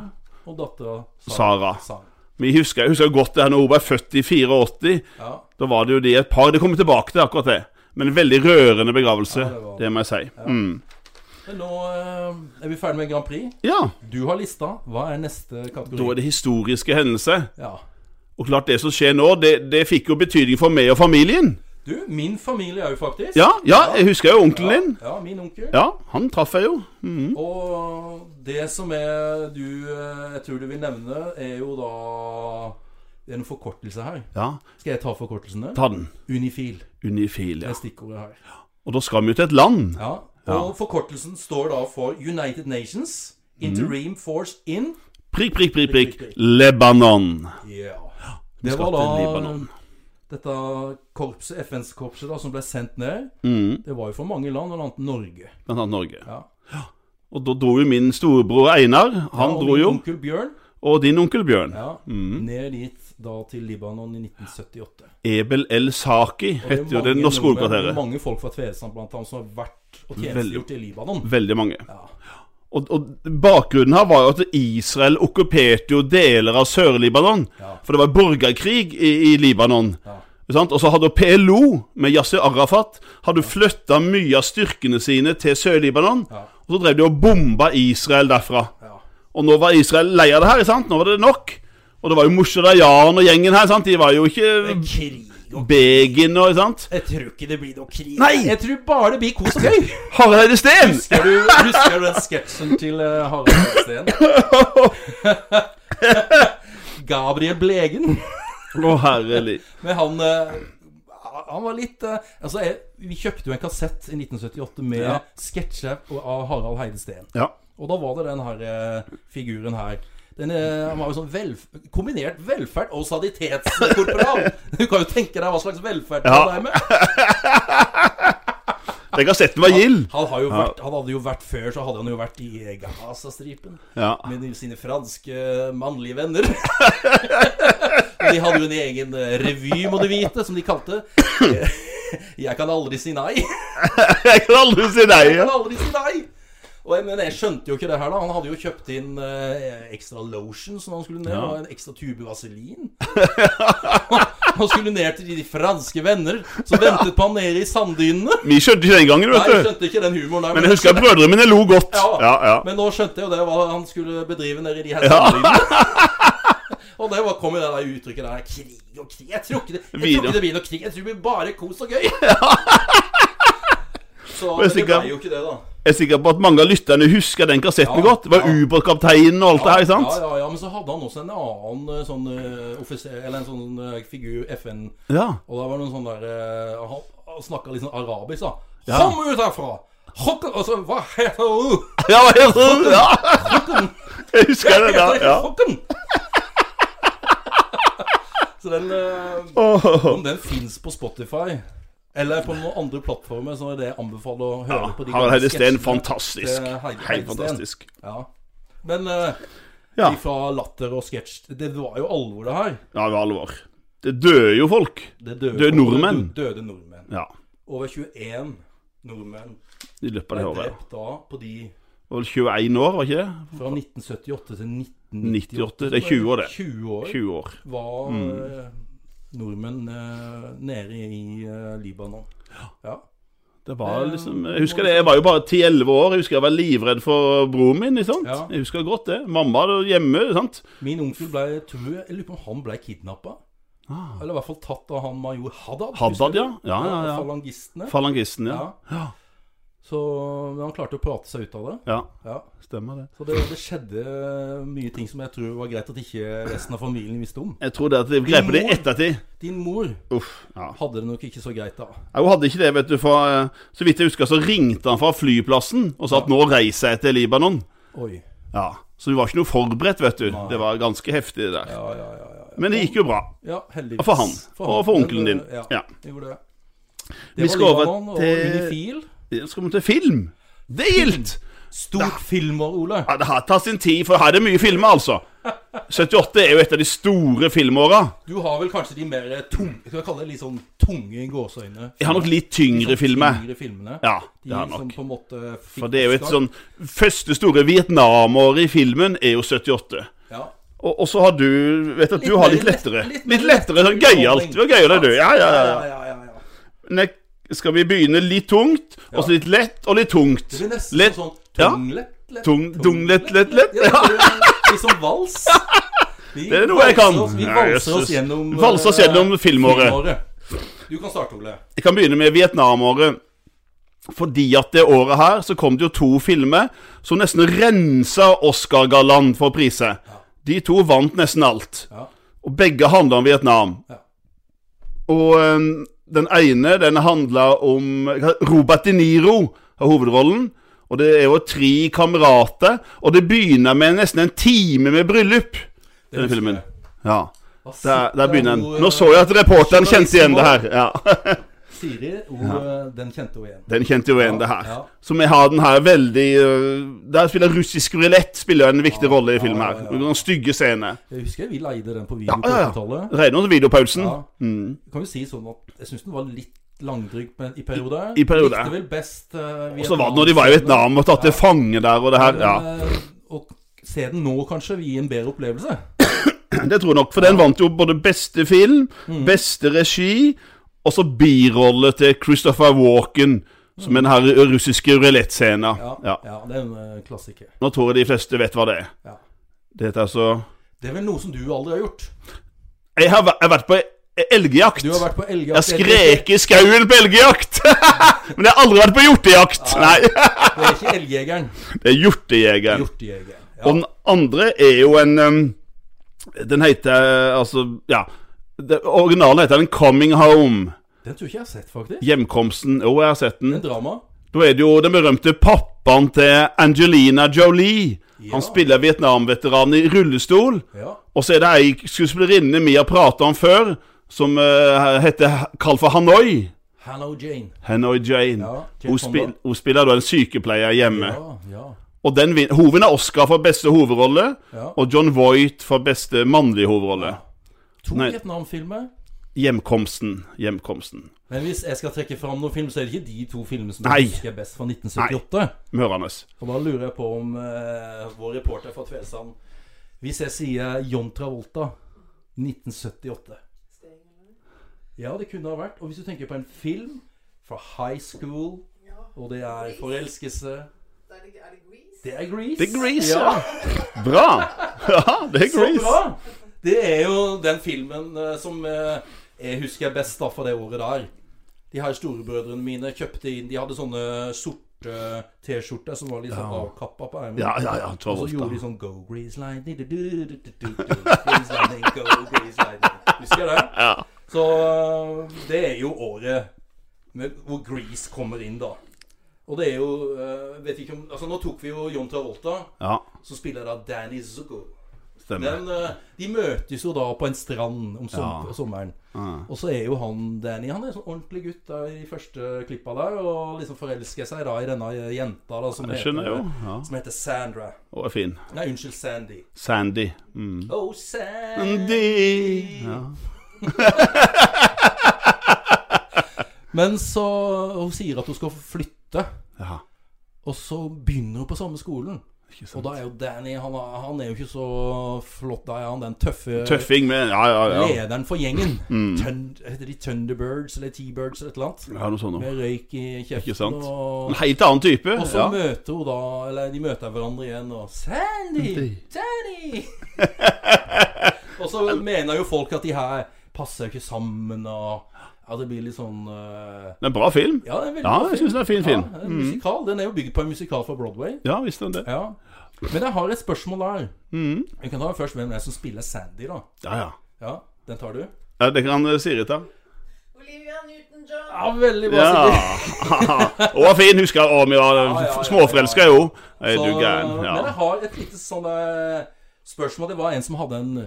Og dattera Sara. sang. Vi husker, jeg husker godt det her når hun ble født i 84. Ja, Da var det jo de et par. Det kommer tilbake til akkurat det. Men en veldig rørende begravelse, Ja, det var det. det må jeg si. Mm. men nå øh, er vi ferdig med Grand Prix. Ja, Du har lista. Hva er neste da kategori? er det historiske hendelser. Ja. Og klart det som skjer nå, det, det fikk jo betydning for meg og familien. Du, min familie er jo faktisk Ja, ja, jeg husker jo onkelen din. Ja, min onkel. Ja, han traff jeg jo. Mhm. Og det som er du øh, Jeg tror du vil nevne, er jo da Det er noen forkortelse her. Ja, Skal jeg ta forkortelsene? ta den. Unifil Unifil, ja. er stikkordet her. Og da skal vi jo til et land. Ja, og forkortelsen står da for United Nations Interim Force In. Prikk, prikk, prikk, prikk. Prikk, prikk, prikk. Lebanon. Ja. Vi Det skal var da til Libanon. dette korpset, FNs korpset da, som ble sendt ned. Mhm. Det var jo for mange land, blant annet Norge. Blant annet Norge. Ja. Og da dro jo min storebror Einar, han og dro min jo, Mm. Onkel Bjørn og din onkel Bjørn. ja, ned dit da til Libanon i 1978. Ebel El Saki Og det er heter jo det mange norske nordmenn, hovedkvarteret. Mange folk fra Tvedestrand blant annet som har vært og tjenestegjort i Libanon. Veldig mange. Ja. Og, og bakgrunnen her var jo at Israel okkuperte jo deler av Sør-Libanon. Ja. For det var borgerkrig i, i Libanon. Ja. Sant? Og så hadde PLO, med Yasir Arafat, hadde flytta mye av styrkene sine til Sør-Libanon. Ja. Og så drev de og bomba Israel derfra. Ja. Og nå var Israel lei av det her, ikke sant? nå var det nok. Og det var jo Mosjadayan og gjengen her, sant? de var jo ikke Krig og Begin og ikke sant? Jeg tror ikke det blir noe krig. Nei! Jeg tror bare det blir kos og gøy. Hareide Steen! Husker du, husker du den sketsjen til eh, Harald Steen? Gabriel Blegen. Å, herlig. Men han eh, Han var litt eh, Altså, jeg, vi kjøpte jo en kassett i 1978 med Ja. sketsjer av Harald Heide Steen. Ja. Og da var det den her eh, figuren her. Den, eh, han var jo sånn velf kombinert velferd og saditetskorporal. Du kan jo tenke deg hva slags velferd det Ja. er med. Den kassetten var gild. Han, har jo vært, han hadde jo vært før, så hadde han jo vært i Gazastripen. Ja. Med de- sine franske mannlige venner. De hadde jo en egen eh, revy, må du vite, som de kalte eh, Jeg kan aldri si nei. Jeg kan aldri si nei. Jeg Ja. kan aldri si nei. Og jeg, men jeg skjønte jo ikke det her, da. Han hadde jo kjøpt inn eh, ekstra lotion som han skulle ned, Ja. og en ekstra tube vaselin. han skulle ned til de franske venner som ventet på han nede i sanddynene. Vi skjønte ikke den gangen, Nei, jeg vet du. skjønte ikke den humoren der. Men jeg husker at brødrene mine lo godt. Ja, Ja, ja. Men nå skjønte jeg jo det hva han skulle bedrive nede i de her sanddynene. og det var, kom jo det der uttrykket der Krig og krig. Jeg tror ikke det, jeg tror Videre. ikke det blir noe krig. Jeg tror det blir bare kos og gøy. Så Og men jeg det stikker- ble jo ikke det, da. Jeg er sikker på at mange av lytterne husker den Ja, kassetten godt. Det var ja. ubåtkapteinen og alt det her, ikke sant? Ja, ja, ja, men så hadde han også en annen eh, sånn eh, offiser, eller en sånn eh, figur, FN Ja. Og da var det noen sånn der eh, Han, han snakka litt sånn arabisk, da. Ja. Kom ut herfra! Hokk- Og så Hva heter du? Ja, hva heter det? Ja, jeg husker det. da, Ja. Hokken! Så den eh, Åh. Om den fins på Spotify eller på noen andre plattformer, så er det jeg anbefaler å høre på. de Harald gamle Heide Steen, sketsjene. fantastisk. Det er eh, Heide- Heide Helt Steen. fantastisk. Ja. Men eh, Ja. ifra latter og sketsj Det var jo alvor, det her. Ja, det var alvor. Det dør jo folk. Det døde, Døde nordmenn. det døde nordmenn. Ja, Over 21 nordmenn i løpet av ble det året. drept da på de Det var vel 21 år, var ikke det? fra 1978 til 98, 1998. det er 20 år, det. 20 år 20 år. var Mm. eh, nordmenn eh, nede i eh, Libanon. Ja. Det var Det- liksom Jeg husker det, jeg var jo bare 10-11 år. Jeg husker jeg var livredd for broren min. ikke sant? Ja. Jeg husker godt det. Mamma var hjemme. ikke sant? Min onkel ble, tror jeg, jeg lurer på om han ble kidnappa. Eller i hvert fall tatt av han major Haddad. husker Ah. Haddad, du? ja. Ja, ja, ja. Falangistene. Falangisten, ja. Ja. Så men han klarte å prate seg ut av det. Ja, Ja. stemmer det. Så det, det skjedde eh, mye ting som jeg tror var greit at ikke resten av familien visste om. Jeg tror det at de grep det i ettertid. Din mor Uff. Ja. hadde det nok ikke så greit da. Nei, Hun hadde ikke det, vet du. For, eh, så vidt jeg husker, så ringte han fra flyplassen og sa at nå reiser jeg til Libanon. Oi. Ja, Så hun var ikke noe forberedt, vet du. Det var ganske heftig, det der. Ja, ja, ja. ja. Men det gikk jo bra. ja heldigvis. For han, og for onkelen Men, eh, din. Ja, Ja. det gjorde det. Vi Det skal var over Libanon og til- Unifil. Så kom vi til film. Det gildt! Stort filmår, Ole. Ja, det har tatt sin tid, for her er det mye filmer, altså. 78 er jo et av de store filmåra. Du har vel kanskje de mer tunge Skal jeg kalle det litt sånn tunge gåseøyne? Jeg har nok litt tyngre filmer. sånn Tyngre sånn filmene. Ja, de det har jeg som nok. på en måte fikk For det er jo et oppstart. sånn Første store Vietnamåret i filmen er jo 78. ja. Og, og så har du Vet at du Litt har mer litt lett- lettere. litt mer Litt lettere sånn lettere gøyalt. Det var gøyere, du. Ja, ja, ja. ja, ja, ja. Men jeg- skal vi begynne litt tungt, og så litt lett og litt tungt? Det blir nesten Lett, sånn ja. tunglett, lett, Tung- tunglett, lett, lett. Ja, det er litt som vals. Vi Det er noe jeg kan. valser oss- Vi Ja, valser oss Jesus. gjennom Valser oss eh, gjennom filmåret. Du kan starte, Ole. Jeg kan begynne med Vietnamåret. Fordi at det året her så kom det jo to filmer som nesten rensa Oscar-gallaen for priser. De to vant nesten alt. Ja. Og begge handla om Vietnam. Ja. Og eh, den ene den handla om Robert De Niro har hovedrollen. Og det er jo tre kamerater. Og det begynner med nesten en time med bryllup. husker Denne jeg. filmen. Ja, Da der, sitter der begynner hun, den. eh, Nå så jeg at reporteren kjente igjen det her. Ja. Siri, hun, eh, den kjente hun igjen. Den kjente jo igjen, Ja, det her. ja. Så vi har den her veldig øh, Der spiller russisk rulett spiller en viktig rolle i filmen her. ja, ja. Noen stygge scener. Jeg husker vi leide den på video Ja, ja, ja. på 80-tallet. Regner med videopausen. Ja. Mm. Kan jo si sånn at jeg syns den var litt langdryg men i perioder. I- i perioder. Likte vel best uh, Og så var det når de var i Vietnam og tatt til fange der og det her. Ja, eh, Og se den nå, kanskje, vil gi en bedre opplevelse. Det tror jeg nok, for den vant jo både beste film, Mm. beste regi og så birolle til Christopher Walken. Som den her russiske rulett-scenen. Mm. Ja, Ja. ja. det er en eh, klassiker. Nå tror jeg de fleste vet hva det er. Ja. Det heter altså Det er vel noe som du aldri har gjort? Jeg har væ- jeg har vært på e- elgjakt. Du har vært på Jeg elgjakt. skrek i skauen på elgjakt! Men jeg har aldri vært på hjortejakt! Nei, Det er ikke elgjegeren. det er hjortejegeren. Hjortejegeren. Ja. Og den andre er jo en um, Den heter altså Ja. Det, originalen heter den 'Coming Home'. Den tror jeg ikke jeg har sett, faktisk. Hjemkomsten. Jo, jeg har sett En den. drama. Da er det jo den berømte pappaen til Angelina Jolie. Han spiller Vietnam-veteran i rullestol. Ja. Og så er det ei skuespillerinne vi har prata om før, som eh, heter kalt for Hanoi. Hello, Jane. Hanoi Jane. Ja, Jane Fonda. hun, spil, hun spiller da en sykepleier hjemme. Ja, ja. Og den vin, hun vinner Oscar for beste hovedrolle, Ja. og John Voight for beste mannlige hovedrolle. To Nei. Vietnam-filmer. Hjemkomsten. Hjemkomsten. Men hvis jeg skal trekke fram noen film, så er det ikke de to filmene som Nei. jeg husker best fra 1978. Mørende. Og da lurer jeg på om eh, vår reporter fra Tvedestrand Hvis jeg sier John Travolta 1978 Ja, det kunne ha vært. Og hvis du tenker på en film fra high school, og det er forelskelse Er det, er det Grease? Det er Grease. Det er Grease, ja. Bra! Ja, det er Så Grease. bra! Det er jo den filmen eh, som eh, jeg husker best da fra det året der. De her storebrødrene mine kjøpte inn De hadde sånne sorte T-skjorter som var litt sånn avkappa på ermet. Ja, ja, ja. Og så gjorde de Travolta. sånn Go Grease Lightning du, du, du, du, du, du, Grease Lightning, Go Grease Lightning Husker jeg det? Ja. Så øh, det er jo året med, hvor Grease kommer inn, da. Og det er jo øh, Vet ikke om Altså, nå tok vi jo John Travolta, ja, som spiller da Danny Zucco. stemmer. Men øh, de møtes jo da på en strand om som Ja. sommeren. Ja. Og så er jo han Danny Han er sånn ordentlig gutt da, i første klippa der, og liksom forelsker seg da i denne jenta da, som, Jeg skjønner jo. heter, Ja. som heter Sandra. Og er fin. Nei, unnskyld, Sandy. Sandy. Mm. Oh, Sandy. Sandy. Ja. Men så Hun sier at hun skal flytte, ja. og så begynner hun på samme skolen. Ikke sant. Og da er jo Danny Han er, han er jo ikke så flott, da er han den tøffe Tøffing med Ja, ja, Mm. ja. lederen for gjengen. Tund, heter de Thunderbirds eller T-birds eller et eller annet? ja noe sånt noe. Med røyk i Ikke sant. kjeften og En helt annen type. og så Ja. møter hun da Eller de møter hverandre igjen og Sandy! Sandy! og så mener jo folk at de her passer jo ikke sammen, og at det blir litt sånn eh, Det er en bra film. Ja, det er veldig Ja, bra jeg film. syns den er en fin Mm. Ja, film. det er en musikal. Den er jo bygd på en musikal fra Broadway. Ja, visste den det. Ja. Men jeg har et spørsmål der. Mm. Vi kan ta først hvem det er som spiller Sandy, da. Ja, ja. Ja, Den tar du? ja det kan eh, Siri ta. Olivia Newton-John. Ja, veldig bra. Ja. Sigrid. Hun var fin, husker jeg. Å, vi var ja, ja, ja. småforelska, jo. Er Så, eh, du gæren? Men jeg Ja. har et lite sånn eh, spørsmål. Det var en som hadde en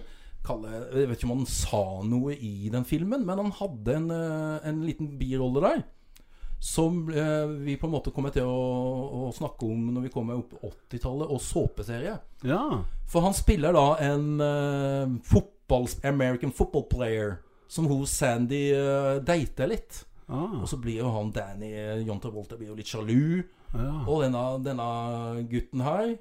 kalle, Jeg vet ikke om han sa noe i den filmen, men han hadde en, eh, en liten birolle der. Som eh, vi på en måte kommer til å, å snakke om når vi kommer opp på 80-tallet, og såpeserie. ja. For han spiller da en eh, fotball, American football player som hun Sandy eh, dater litt. Ah, Og så blir jo han Danny eh, John Travolta blir jo litt sjalu. ja. Og denne, denne gutten her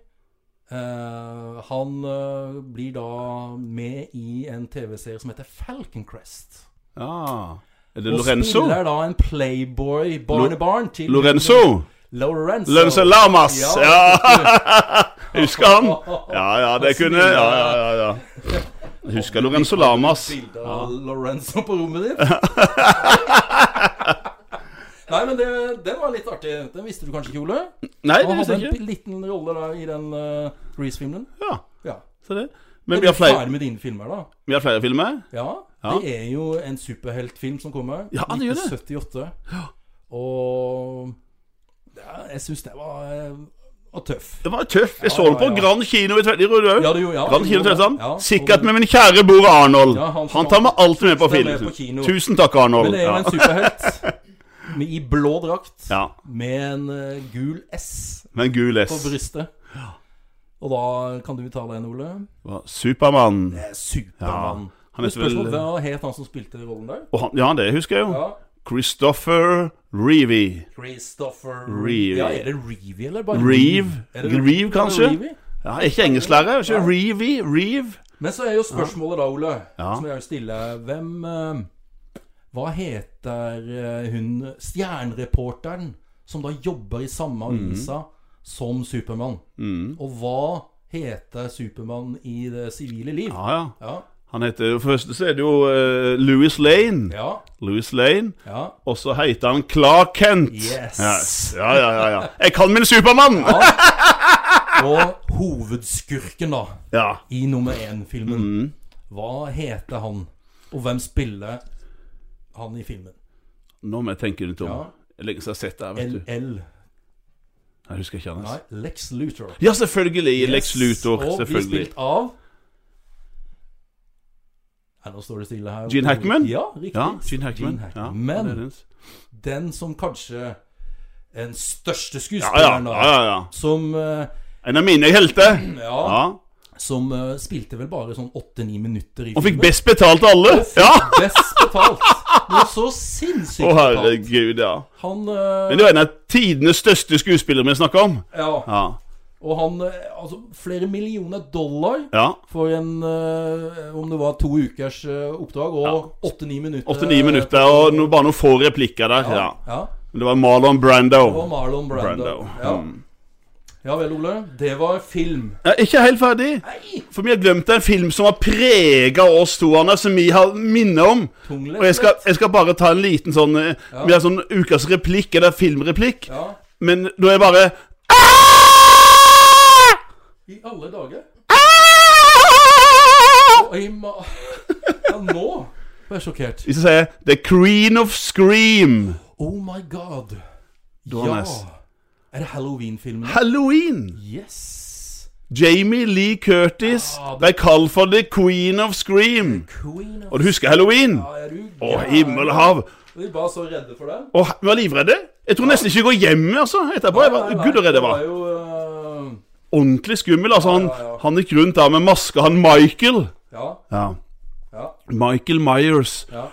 eh, Han eh, blir da med i en TV-serie som heter Falcon Crest. ja. Er det Og Lorenzo? spiller da en playboy barnebarn til Lorenzo? Lorenzo. Lorenzo Lamas! Ja, Ja, husker han? Ja, ja, det kunne Ja, ja, ja. ja. Jeg Husker Lorenzo Lamas. Bilde av Lorenzo på rommet ditt. Nei, men det, den var litt artig. Den visste du kanskje ikke, Ole? Nei, det Han visste hadde jeg ikke. en liten rolle der i den uh, Grease-filmen. Ja, Ja. så det. Men vi Men vi har flere, med dine filmer, da. vi har flere filmer. Ja, Ja. det er jo en superheltfilm som kommer. Ja, det gjør det. 1978. Og ja, jeg syns det var, eh, var tøff. Det var tøff. Jeg så Ja, den på ja, ja. Grand Kino i Tvellerud òg. Ja, det gjorde ja, Grand det Kino gjorde det. Tvedestrand. Ja, og Sikkert den- med min kjære bror Arnold. Ja, han- han tar med alt med på Han er med film. på kino. Tusen takk, Arnold. Men det er jo Ja. en superhelt. med- i blå drakt Ja. med en eh, gul S Men gul på S brystet. Og da kan du ta den, Ole. var Supermann. Eh, Supermann. Ja, han Men heter vel- Oh. Spørsmålet hva het han som spilte rollen der? Og han, ja, det husker jeg jo. Ja. Christopher Reeve. Christopher Reeve. Ja, er det Reeve, eller bare Reeve? Er det Reeve, kanskje? Er det Reeve? Ja, er ikke engelsklærer, er ikke Reeve? Reeve? Men så er jo spørsmålet da, Ole, Ja. som jeg vil stille Hvem eh, Hva heter eh, hun stjernereporteren som da jobber i Mm. samme avisa som Supermann? Og hva heter Supermann i det sivile liv? Ja, ja. Ja. Han heter jo Først så er det jo eh, Louis Lane. Ja. Louis Lane. ja. Og så heter han Clark Kent. Yes. Ja, ja, ja, ja. Jeg kan min Supermann! Ja. Og hovedskurken, da, ja. i nummer én-filmen. Mm. Hva heter han? Og hvem spiller han i filmen? Nå må jeg tenke litt om. Ja. Det er Lenge siden jeg har sett det her, vet du. LL. Jeg husker ikke Nei, hans. Lex Luthor. Ja, selvfølgelig. Lex Yes, Luthor. Og blir Selvfølgelig. spilt av Nei, nå står det stille her. Gene Hackman? Ja, riktig. Ja, Gene Hackman. Gene Ja, Hackman. det er det. den som kanskje Den største ja, ja, skuespilleren, da. ja, ja, ja. Som eh, En av mine helter. Ja. Ja. Som eh, spilte vel bare sånn åtte-ni minutter i Og fikk best betalt av alle. Ja! Fikk best betalt. Det var så sinnssykt Å, betalt. herregud, ja. Han eh, Men det var en av tidenes største skuespillere vi snakker om. Ja. Ja. Og han eh, Altså, flere millioner dollar ja. for en eh, Om det var to ukers eh, oppdrag og åtte-ni minutter. 8-9 minutter og no, bare noen få replikker der. Ja. Eh, ja. Men det var Marlon Brando. Og Marlon Brando. Brando. Ja. Mm. ja vel, Ole. Det var film. Jeg er ikke helt ferdig. Nei! For vi har glemt en film som har prega oss to, Anna, som vi har minne om. Tunglet. Og jeg skal, jeg skal bare ta en liten sånn eh, Ja. Vi har sånn ukas replikk, eller filmreplikk. Ja. Men da er jeg bare I alle dager. Og i ma... Ja, nå ble jeg sjokkert. Hvis jeg sier The Queen of Scream. Oh my god. var Ja. nice. Er det Halloween-filmen? Halloween. Yes. Jamie Lee Curtis Ja, det- ble kalt for The Queen of Scream. Queen of Og du husker halloween? Ja, er du Å, gæren? himmel og hav. Vi var så redde for den. Og vi var livredde. Jeg tror nesten ikke jeg går hjem altså, etterpå. Jeg var, Nei, nei, Gud, så redd jeg Det var. var jo eh, Ordentlig skummel. Altså, han, Ja, ja, ja. han gikk rundt der med maske, han Michael. Ja. Ja. Ja. Michael Myers. ja.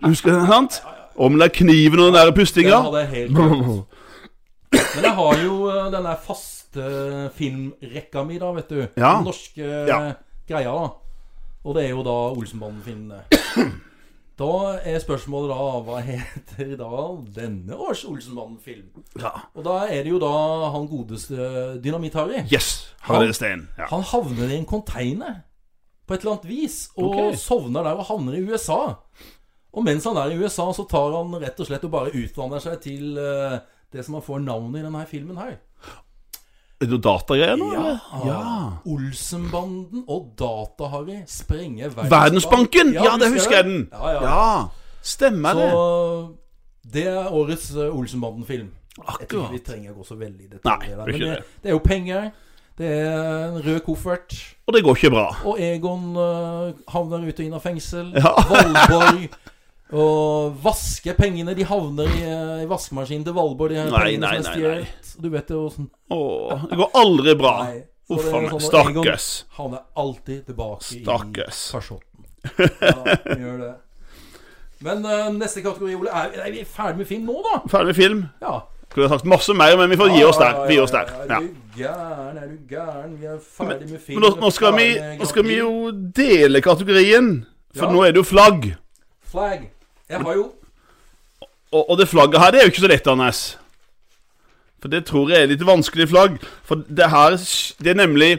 Husker du den? sant? Og med den der kniven og den der Den pustinga. hadde jeg helt glemt. Men jeg har jo eh, den der faste filmrekka mi, da, vet du. Ja. Den norske eh, Ja. greia, da. Og det er jo da Olsenbanden-filmene. Da er spørsmålet da hva heter da denne års Olsenbanden-film? Ja. Og da er det jo da han godeste Dynamitt-Harry. Yes, her er det Stein. Ja. Han havner i en container på et eller annet vis, og Ok. sovner der og havner i USA. Og mens han er i USA, så tar han rett og slett og bare utvandrer seg til eh, det som han får navnet i denne filmen her. Er det datagreier nå? eller? Olsenbanden og Data-Harry sprenger Verdensbanken! Ja, det husker jeg det. den. Ja, ja. Ja, stemmer det. Så det er årets eh, Olsenbanden-film. Jeg tror ikke Akkurat. vi trenger å gå så veldig i Nei, detalj der. det er Men ikke det, det. det er jo penger. Det er en rød koffert. Og det går ikke bra. Og Egon eh, havner ut og inn av fengsel. Ja. Valborg og vasker pengene. De havner i, eh, i vaskemaskinen til Valborg. De her Nei, pengene nei, som er nei, nei. stjålet. Du vet det åssen Åh, det går aldri bra. Uff a meg. Stakkars. sånn Han er alltid tilbake Stakkars. i kasjotten. Ja, han gjør det. Men eh, neste kategori, Ole. Er, er vi ferdig med film nå, da? Ferdig film. Ja. Kunne sagt masse mer, men vi får gi oss der. Vi gir oss der. Ja, Ja. Er du gæren, er du gæren? Vi er ferdig med film. Men nå, nå, skal vi, er ferdig med nå skal vi kategori. jo dele kategorien, for Ja. nå er det jo flagg. Flag. Jeg har jo Og, og det flagget her, det er jo ikke så lett, Anders. For det tror jeg er litt vanskelig flagg. For det her Det er nemlig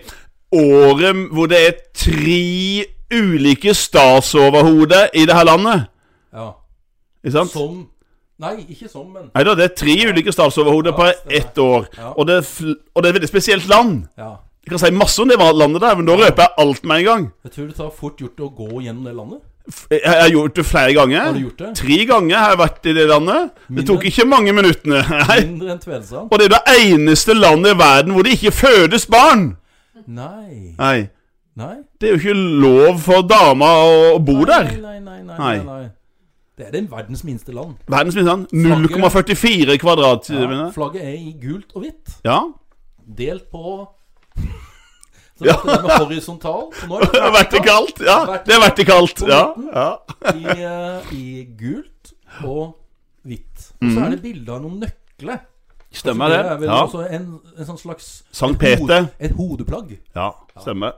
året hvor det er tre ulike statsoverhoder i det her landet. Ja. Ikke sant? Som Nei, ikke som, men Nei da, det er tre ulike statsoverhoder Ja, på stemmer. ett år. Ja. Og, det er fl og det er et veldig spesielt land. ja. Jeg kan si masse om det landet der, men da røper jeg alt med en gang. Jeg tror det tar fort gjort å gå gjennom det landet. F- Jeg jeg har gjort det flere ganger. Har du gjort det? Tre ganger har jeg vært i det landet. Det Mindre. tok ikke mange minuttene. Nei. Mindre enn Tvedestrand? Og det er det eneste landet i verden hvor det ikke fødes barn! Nei. Nei. Nei. Det er jo ikke lov for dama å å bo Nei, der. Nei, nei, nei. Nei. nei, nei. Det er det verdens minste land. Verdens minste land. 0,44 kvadratkilometer. Flagget er i gult og hvitt, Ja. delt på Så dette er med horisontal og nå er det Vertikalt. Ja, det er vertikalt. Ja. ja. i, eh, i gult og hvitt. Og så er det bilde av noen nøkler. Stemmer Så Mhm. er det. vel Ja. også en, en sånn slags Sankt Peter. Et hodeplagg. Ja, stemmer.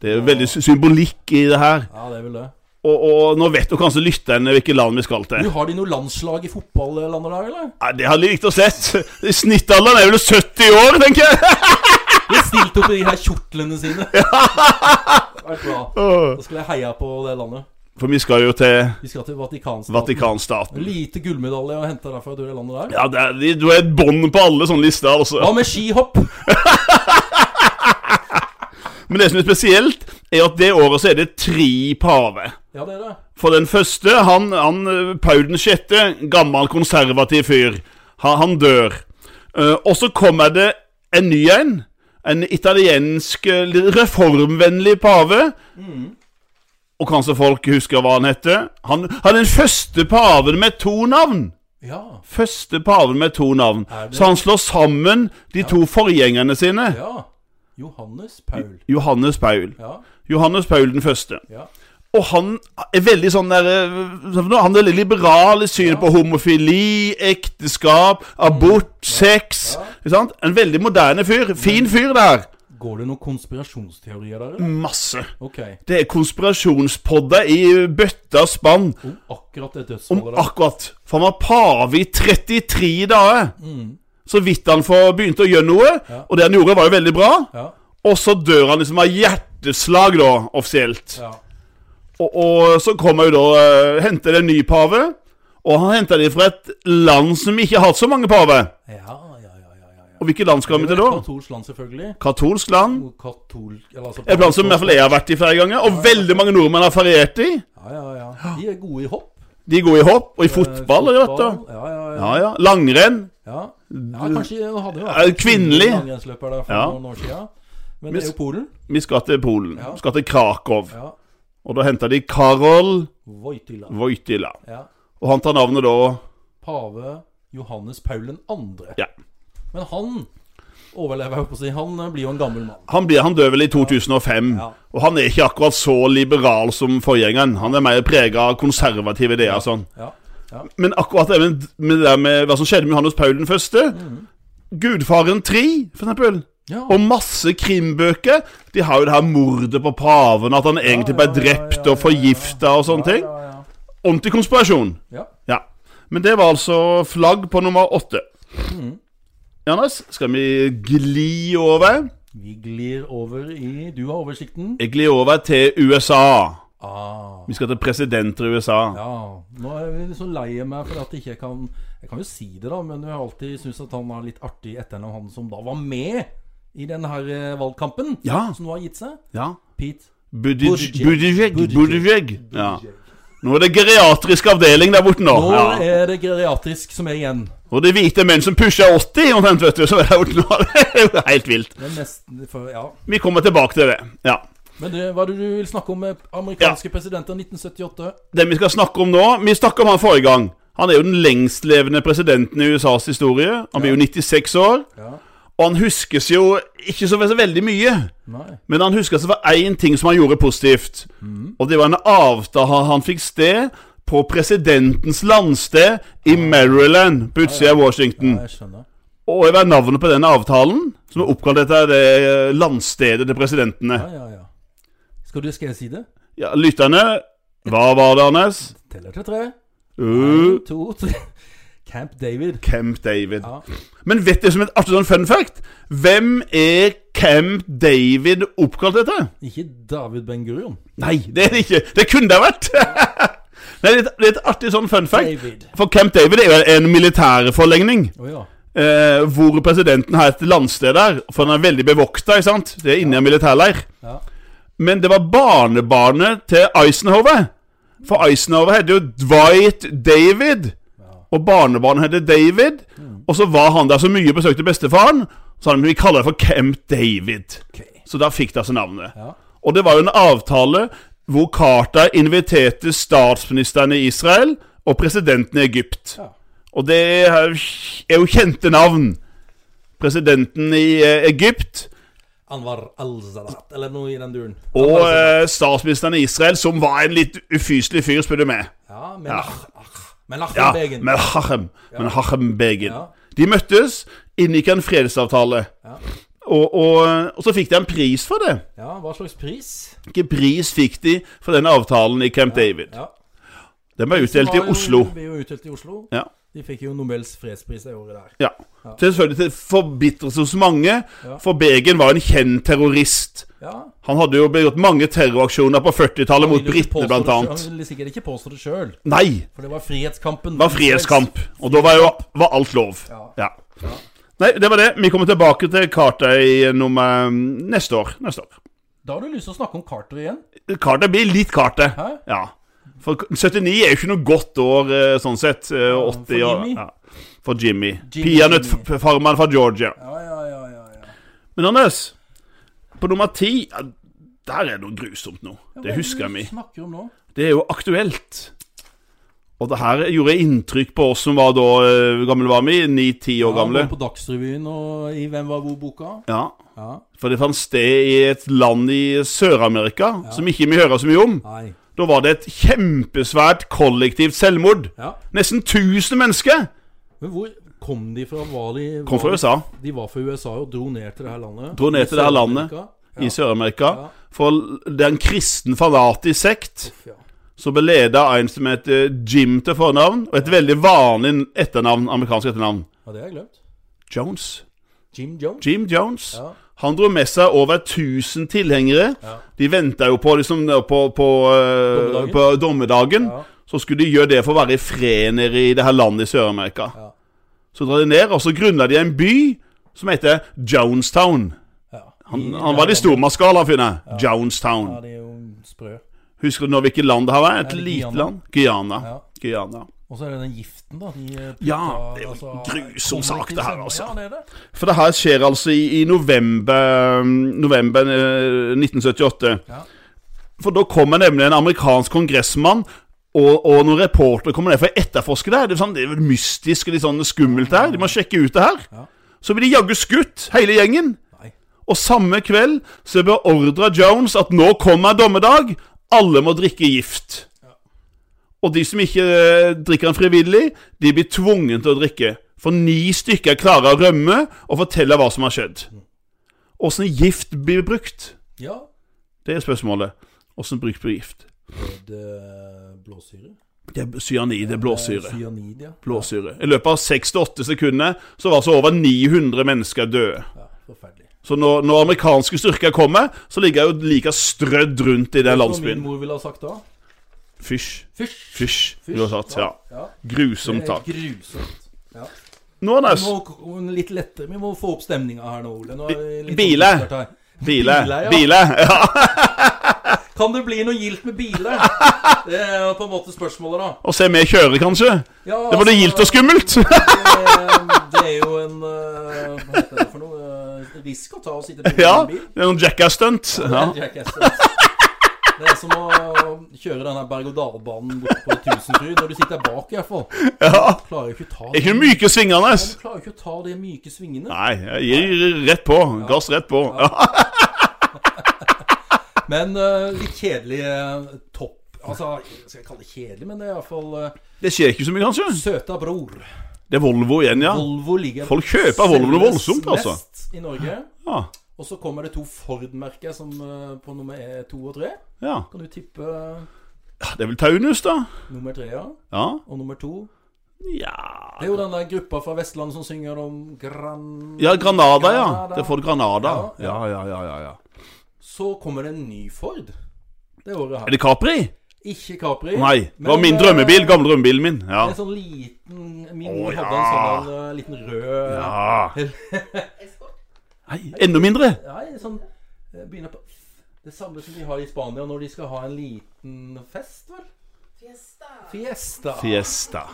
Det er jo veldig sy- symbolikk i det her. Ja, det er vel det. Og, og nå vet jo kanskje lytterne hvilket land vi skal Du, til. Har de noe landslag i fotball eh, landet der, eller? Ja, det hadde de likt å sett. Snittalderen er vel 70 år, tenker jeg. De har stilt opp i de her kjortlene sine. Vært bra. Da skulle jeg heia på det landet. For vi skal jo til Vi skal til Vatikanstaten. En Vatikanstaten. lite gullmedalje å hente derfra det landet der. Ja, det er, de- du er et bånd på alle sånne lister. altså Hva med skihopp? Men det som er spesielt, er at det året så er det tre pave. Ja, det er det. For den første, han, han eh, Paul den sjette, gammel konservativ fyr, han, han dør. Eh, og så kommer det en ny en. En italiensk eh, litt reformvennlig pave. Mm. Og kanskje folk husker hva han heter. Han, han er den første paven med to navn. Ja. Første paven med to navn. Er det- Så han slår sammen de to forgjengerne sine. ja. Johannes Paul. Johannes Paul. Ja. Johannes Paul den første. ja. Og han er veldig sånn der eh, Han er veldig liberal i synet på homofili, ekteskap, Mm. abort, sex. Ikke sant? En veldig moderne fyr. Mm. Fin fyr, det her. Går det noen konspirasjonsteorier der, eller? Masse. Ok. Det er konspirasjonspodder i bøtta spann Om akkurat det om dødsfallet der. akkurat For han var pave i 33 dager. Mm. Så vidt han får begynte å gjøre noe. Og det han gjorde, var jo veldig bra. Ja. Og så dør han liksom av hjerteslag, da, offisielt. ja. Og, og så kommer jo da eh, Henter en ny pave. Og han henter de fra et land som ikke har hatt så mange pave. Ja, ja, ja, ja, ja, ja. Og hvilket land skal vi til da? Katolsk land, selvfølgelig. Katolsk land. Katolsk eller altså, Et land som i hvert fall jeg har vært i flere ganger, og veldig mange nordmenn har feriert i. Ja, ja, ja. De er gode i hopp. De går i hopp og i fotball. Eh, og vet du. fotball. Ja, ja, ja. Ja, ja. Langrenn. ja. ja kanskje det hadde jo Er det kvinnelig? langrennsløper der for Ja. noen år siden. Men det Miss- er jo Polen. Vi skal til Polen. Ja. Vi skal til Krakow. Ja. Og da henter de Karol Wojtyla. Wojtyla. Ja. Og han tar navnet da Pave Johannes Paul 2. Ja. Men han overlever, jeg holdt på å si. Han eh, blir jo en gammel mann. Han, blir, han dør vel i 2005. Ja. Og han er ikke akkurat så liberal som forgjengeren. Han er mer prega av konservative ideer og sånn. Ja. Men akkurat det med, med det der med hva som skjedde med Johannes Paul den første Mhm. Gudfaren 3, for eksempel. ja. Og masse krimbøker. De har jo det her mordet på paven, at han egentlig ble ja, ja, drept ja, ja, og forgifta og sånne ting. Ja, ja, Ordentlig konspirasjon. ja. ja. Ja. Men det var altså flagg på nummer åtte. Mhm. Johannes, skal vi gli over? Vi glir over i Du har oversikten. Jeg glir over til USA. Ah. Vi skal til presidenter i USA. Ja, nå er jeg litt så lei meg for at jeg ikke kan Jeg kan jo si det, da, men jeg har alltid syntes at han er litt artig etter enn han som da var med i denne her eh, valgkampen, Ja. som nå har gitt seg. ja. Pete. Buttigieg. Buttigieg. Buttigieg. Buttigieg. Ja. Nå er det geriatrisk avdeling der borte nå. Nå Ja. er det geriatrisk som er igjen. Og det er hvite menn som pusher 80 omtrent, vet du. Så er det jo det er jo helt vilt. Det er nesten for, ja. Vi kommer tilbake til det. Ja. Men det, hva er det du vil snakke om med amerikanske presidenter 1978? Det vi skal snakke om nå Vi snakka om han forrige gang. Han er jo den lengstlevende presidenten i USAs historie. Han blir jo 96 år. Ja. Og han huskes jo ikke så ve- veldig mye. Nei. Men han husker at det var én ting som han gjorde positivt. Mm. Og det var en avtale han fikk sted på presidentens landsted i Maryland, på utsida av Washington. Ah. Ja, jeg skjønner. Og hva er navnet på den avtalen? Som er oppkalt etter det eh, landstedet til presidentene. Ja, ja, ja. Skal, du, skal jeg si det? Ja, Lytterne, hva var det, Anders? Teller til tre. Uh, En, to, tre. Camp David. Camp David. Ja. Men vet dere som et artig sånn fun fact? Hvem er Camp David oppkalt etter? Ikke David Ben-Gurion. Nei, det er det ikke. Det kunne det ha vært. Nei, det er et- det er et artig sånn fun fact. David. For Camp David er jo en militærforlengning. Å ja. Eh, hvor presidenten har et landsted der. For han er veldig bevokta, ikke sant? Det er inne i en militærleir. ja. Men det var barnebarnet til Eisenhower. For Eisenhower het jo Dwight David. Og barnebarnet het David. Og så var han der så mye og besøkte bestefaren, så han, vi kaller det for Camp David. Ok. Så da fikk det altså navnet. Ja. Og det var jo en avtale hvor Carter inviterte statsministeren i Israel og presidenten i Egypt. Ja. Og det er er jo kjente navn. Presidenten i eh, Egypt Anwar al-Zarat, eller noe i den duren. og Anwar al-Sadat. eh, statsministeren i Israel, som var en litt ufyselig fyr, spør du meg. Ja, Menach, ach, Menachem Ja, Begin. men Hachem, men Hachem Begin. Ja. De møttes, inngikk en fredsavtale. Ja. Og, og, og så fikk de en pris for det. ja, hva slags pris? Hvilken pris fikk de for den avtalen i Camp David? Ja. Den ble utdelt i Var jo- Oslo. Ble jo utdelt i Oslo. Ja. De fikk jo Nobels fredspris det året der. ja. Til selvfølgelig til forbitrelse hos mange, Ja. for Begin var en kjent terrorist. Ja. Han hadde jo begått mange terroraksjoner på 40-tallet mot Han ville ikke påstå britene, blant det selv- annet. Han ville sikkert ikke påstå det sjøl, Nei! for det var frihetskampen. Det var frihetskamp, og da var jo var alt lov. Ja. Ja. Nei, det var det. Vi kommer tilbake til Carter nummer neste år. Neste år. Da har du lyst til å snakke om Carter igjen. Carter blir litt Carter. Hæ? Ja. For 79 er jo ikke noe godt år eh, sånn sett. eh, Ja, og 80 for og- Jimmy. Ja. For Jimmy. Jimmy, Peanøttfarmeren fra Georgia. Ja, ja, ja, ja, ja. Men Anders, på nummer 10 ja, Der er det noe grusomt nå. Det husker vi. Snakker om nå. Det er jo aktuelt. Og det her gjorde inntrykk på oss som var da eh, gamle var vi, 9-10 år gamle. Ja, både på Dagsrevyen og i Hvem var hvor-boka. Ja, Ja. For det fant sted i et land i Sør-Amerika som ikke vi hører så mye om. Nei. Da var det et kjempesvært kollektivt selvmord. Ja. Nesten 1000 mennesker Men hvor kom de fra? Var de, kom var fra de- USA, De var fra USA og dro ned til det her landet. Dro ned I til det her landet. Sør-Amerika. i Sør-Amerika. Ja. For det er en kristen fanatisk sekt Uff, ja. som ble ledet av en som heter Jim til fornavn, og et veldig vanlig etternavn, amerikansk etternavn. ja, det har jeg glemt. Jones. Jim Jones. Jim Jones. Ja. Han dro med seg over 1000 tilhengere. Ja. De venta jo på, liksom, på, på, eh, Dommedagen. på dommedagen. Ja. Så skulle de gjøre det for å være i fred nede i det her landet i Sør-Amerika. Ja. Så drar de ned, og så grunna de en by som heter Jonestown. Ja. Han, I- han var litt stormannsskala, finner jeg. Jonestown. Ja, de er jo sprø. Husker du nå hvilket land det her var? Et Er det lite Guyana? land? Guyana. Ja. Guyana. Og så er det den giften, da. De eh, putta, Ja, det er jo en grusom kommer sak, til det her, seg- altså. Ja, det er det. For det her skjer altså i, i november, um, november eh, 1978. Ja. For da kommer nemlig en amerikansk kongressmann og, og noen reportere kommer ned for å etterforske det. her. Det er, sånn, det er vel mystisk og litt sånn skummelt her. De må sjekke ut det her. Ja. Så blir de jaggu skutt, hele gjengen. Nei. Og samme kveld så beordra Jones at nå kommer dommedag, alle må drikke gift. Og de som ikke eh, drikker den frivillig, de blir tvungen til å drikke. For ni stykker klarer å rømme og fortelle hva som har skjedd. Åssen gift blir brukt? Ja. Det er spørsmålet. Åssen bruk blir gift? Det er eh, blåsyre. Eh, Det er cyanid, det er blåsyre. Cyanid, ja. blåsyre. I løpet av 6-8 sekunder så var altså over 900 mennesker døde. ja. Forferdelig. Så når, når amerikanske styrker kommer, så ligger jeg jo like strødd rundt i Som den min landsbyen. mor ville ha sagt da. Fysj. Fysj. Fysj. Fysj. ville jeg sagt, ja. ja. Grusomt Det er tak. grusomt. Ja. Nå, Vi Anders. må k- litt lettere. Vi må få opp stemninga her nå, Ole. Nå er vi litt sånn Biler. oppstart her. Bile. Bile, ja. Bile. Ja. Kan det bli noe gildt med biler? Det er jo på en måte spørsmålet, da. Og se meg kjøre, kanskje. Ja, Det var det altså, gildt og skummelt. det, det er jo en eh, Hva heter det for noe? eh, risk å ta og sitte på Ja. en bil. Det er noen jackass-stunt. Det Ja. er Jackass, altså. Det er som å kjøre denne berg-og-dal-banen borte på Tusenfryd når du sitter bak, i hvert fall. ja. Du klarer jo ikke å ta Er det- ikke noe myke svinger, Ja, Anders. Du klarer jo ikke å ta de myke svingene. Nei, jeg gir rett på. Gass rett på. Ja. Men eh, litt kjedelig eh, topp Altså, jeg skal kalle det kjedelig, men det er iallfall uh, Det skjer ikke så mye, kanskje. søta bror. Det er Volvo igjen, ja. Volvo ligger Folk kjøper Volvo noe voldsomt, selges altså. mest i Norge. Ja. Og så kommer det to Ford-merker som eh, på nummer eh, to og tre. ja. Kan du tippe eh, Det er vel Taunus, da? nummer tre, ja? Ja. Og nummer to? Ja Det er jo den der gruppa fra Vestlandet som synger om Gran... Ja, Granada, ja. Granada. Det er Ford Granada. Ja, Ja, ja, ja, ja, ja. Så kommer det en ny Ford det året Er her. det Capri? Ikke Capri. Nei. Det var men, min eh, drømmebil. Gamle drømmebilen min. Ja. En sånn liten Min Å, mor hadde en ja. sånn eh, liten rød ja. Escort. Nei, enda mindre. Nei, sånn eh, Begynner på Det samme som de har i Spania når de skal ha en liten fest, vel? Fiesta. Fiesta. Fiesta.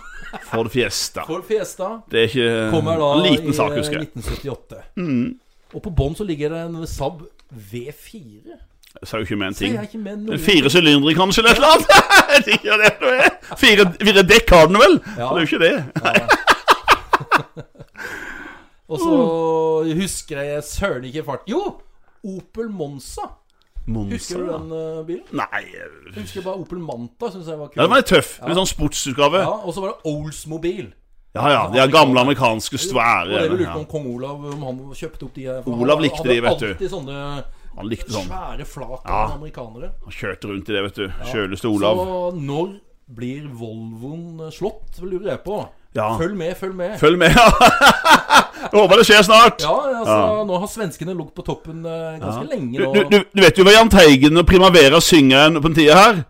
Ford Fiesta. For Fiesta Det er ikke kommer da en liten sak, i eh, husker jeg. Mm. 1978. Og på bånn så ligger det en Saab V4. Jeg sa jo ikke med en Så ting. jeg er ikke med noen Fire sylindere, kanskje, eller noe sånt? Det er ikke det det er. Fire, fire dekk har den vel? Ja. Det er jo ikke det. Og så Mm. husker jeg søren ikke fart Jo! Opel Monza. Husker Monster, du da. den eh, bilen? Nei Jeg husker bare Opel Manta. Synes jeg var kul. Ja, den var litt tøff. Litt sånn sportsutgave. Ja, og så var det Oldsmobil. Ja ja, de er gamle amerikanske Og det svære. vi lurte Ja. på om kong Olav om han kjøpte opp de for han Olav likte hadde de, vet du. Alltid sånne Han likte sånn. svære flak av Ja. amerikanere. Han kjørte rundt i det, vet du. Kjøleste Olav. Så når blir Volvoen slått, lurer jeg på. Ja. Følg med, følg med. Følg med, ja. Jeg Håper det skjer snart. ja, altså, Nå har svenskene ligget på toppen eh, ganske lenge. Du, nå du, du, du vet jo hva Jahn Teigen og Primavera synger en- på den tida her?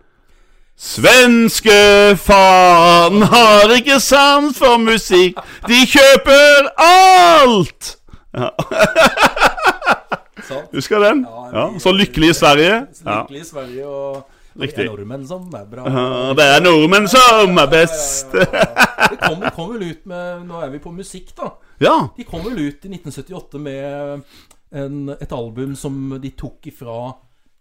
Svenske faen har ikke sans for musikk, de kjøper alt! sant? Husker du den? Ja, Ja, vi- så lykkelig i Sverige. Ja. Lykkelig i Sverige og Riktig. og nordmenn som er bra. Ja, Det er nordmenn som er best. De kom, kom vel ut med Nå er vi på musikk, da. Ja, De kom vel ut i 1978 med en, et album som de tok ifra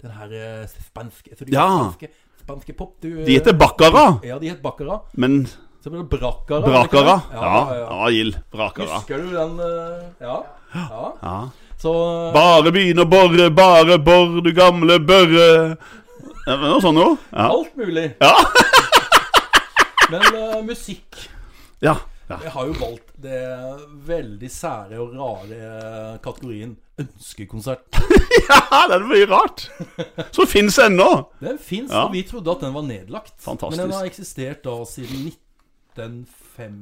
den her eh, spanske så de- Ja. spanske, spanske pop. Du, de heter Baccara, Ja, de het Baccara. men Så ble det Bracara. Brakara ikke det? Ja, ja, ja. ja, Gild. Brakara. Husker du den eh, Ja. ja. Ja. Så Bare begynn å bore, bare bor, du gamle børre. Ja, men Noe sånt noe. Ja. eh, alt mulig. Ja. Men eh, musikk Ja. ja. Jeg har jo valgt det veldig sære og rare eh, kategorien ønskekonsert. Ja, det er mye rart. Som fins ennå. Den fins, Ja. og vi trodde at den var nedlagt. Fantastisk. Men den har eksistert da siden 1950.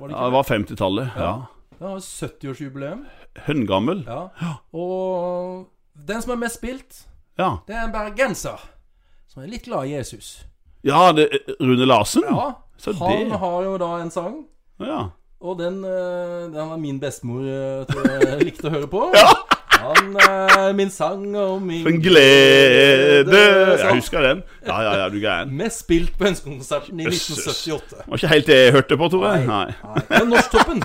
Var det Ja, ikke? det var 50-tallet. Ja. Den har 70-årsjubileum. Høngammel. Ja. Og den som er mest spilt, Ja. det er en bergenser som er litt glad i Jesus. ja det, Rune Larsen? Ja, Så han det- har jo da en sang. Ja. Og den, eh, den var min bestemor eh, tror jeg likte å høre på. Ja. Han er min sang og min En glede Jeg Sånn. husker den. Ja, ja, ja, du er gæren. Mest spilt på Ønskekonserten i Jøsses. 1978. Det var ikke helt det jeg hørte på, tror jeg. Nei. Nei. Men Norsktoppen.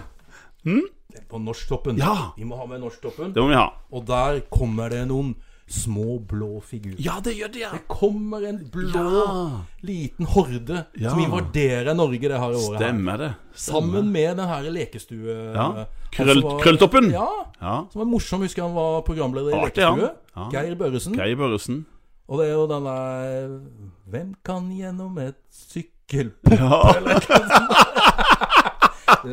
Det er På Norsktoppen. Hmm? Ja. Vi må ha med Norsktoppen. Det må vi ha. Og der kommer det noen små blå figurer. Ja, det gjør det, ja. Det kommer en blå Ja. liten horde Ja. som invaderer Norge det her året. her. Stemmer det. Sammen med den her lekestue... Ja. han som Krøll, var- krølltoppen. Ja. Ja. Som var morsom, husker jeg han var programleder i Artig, han. Lekestue. Ja. Geir Børresen. Geir Børresen. Og det er jo den der Hvem kan gjennom et sykkelpop? Ja.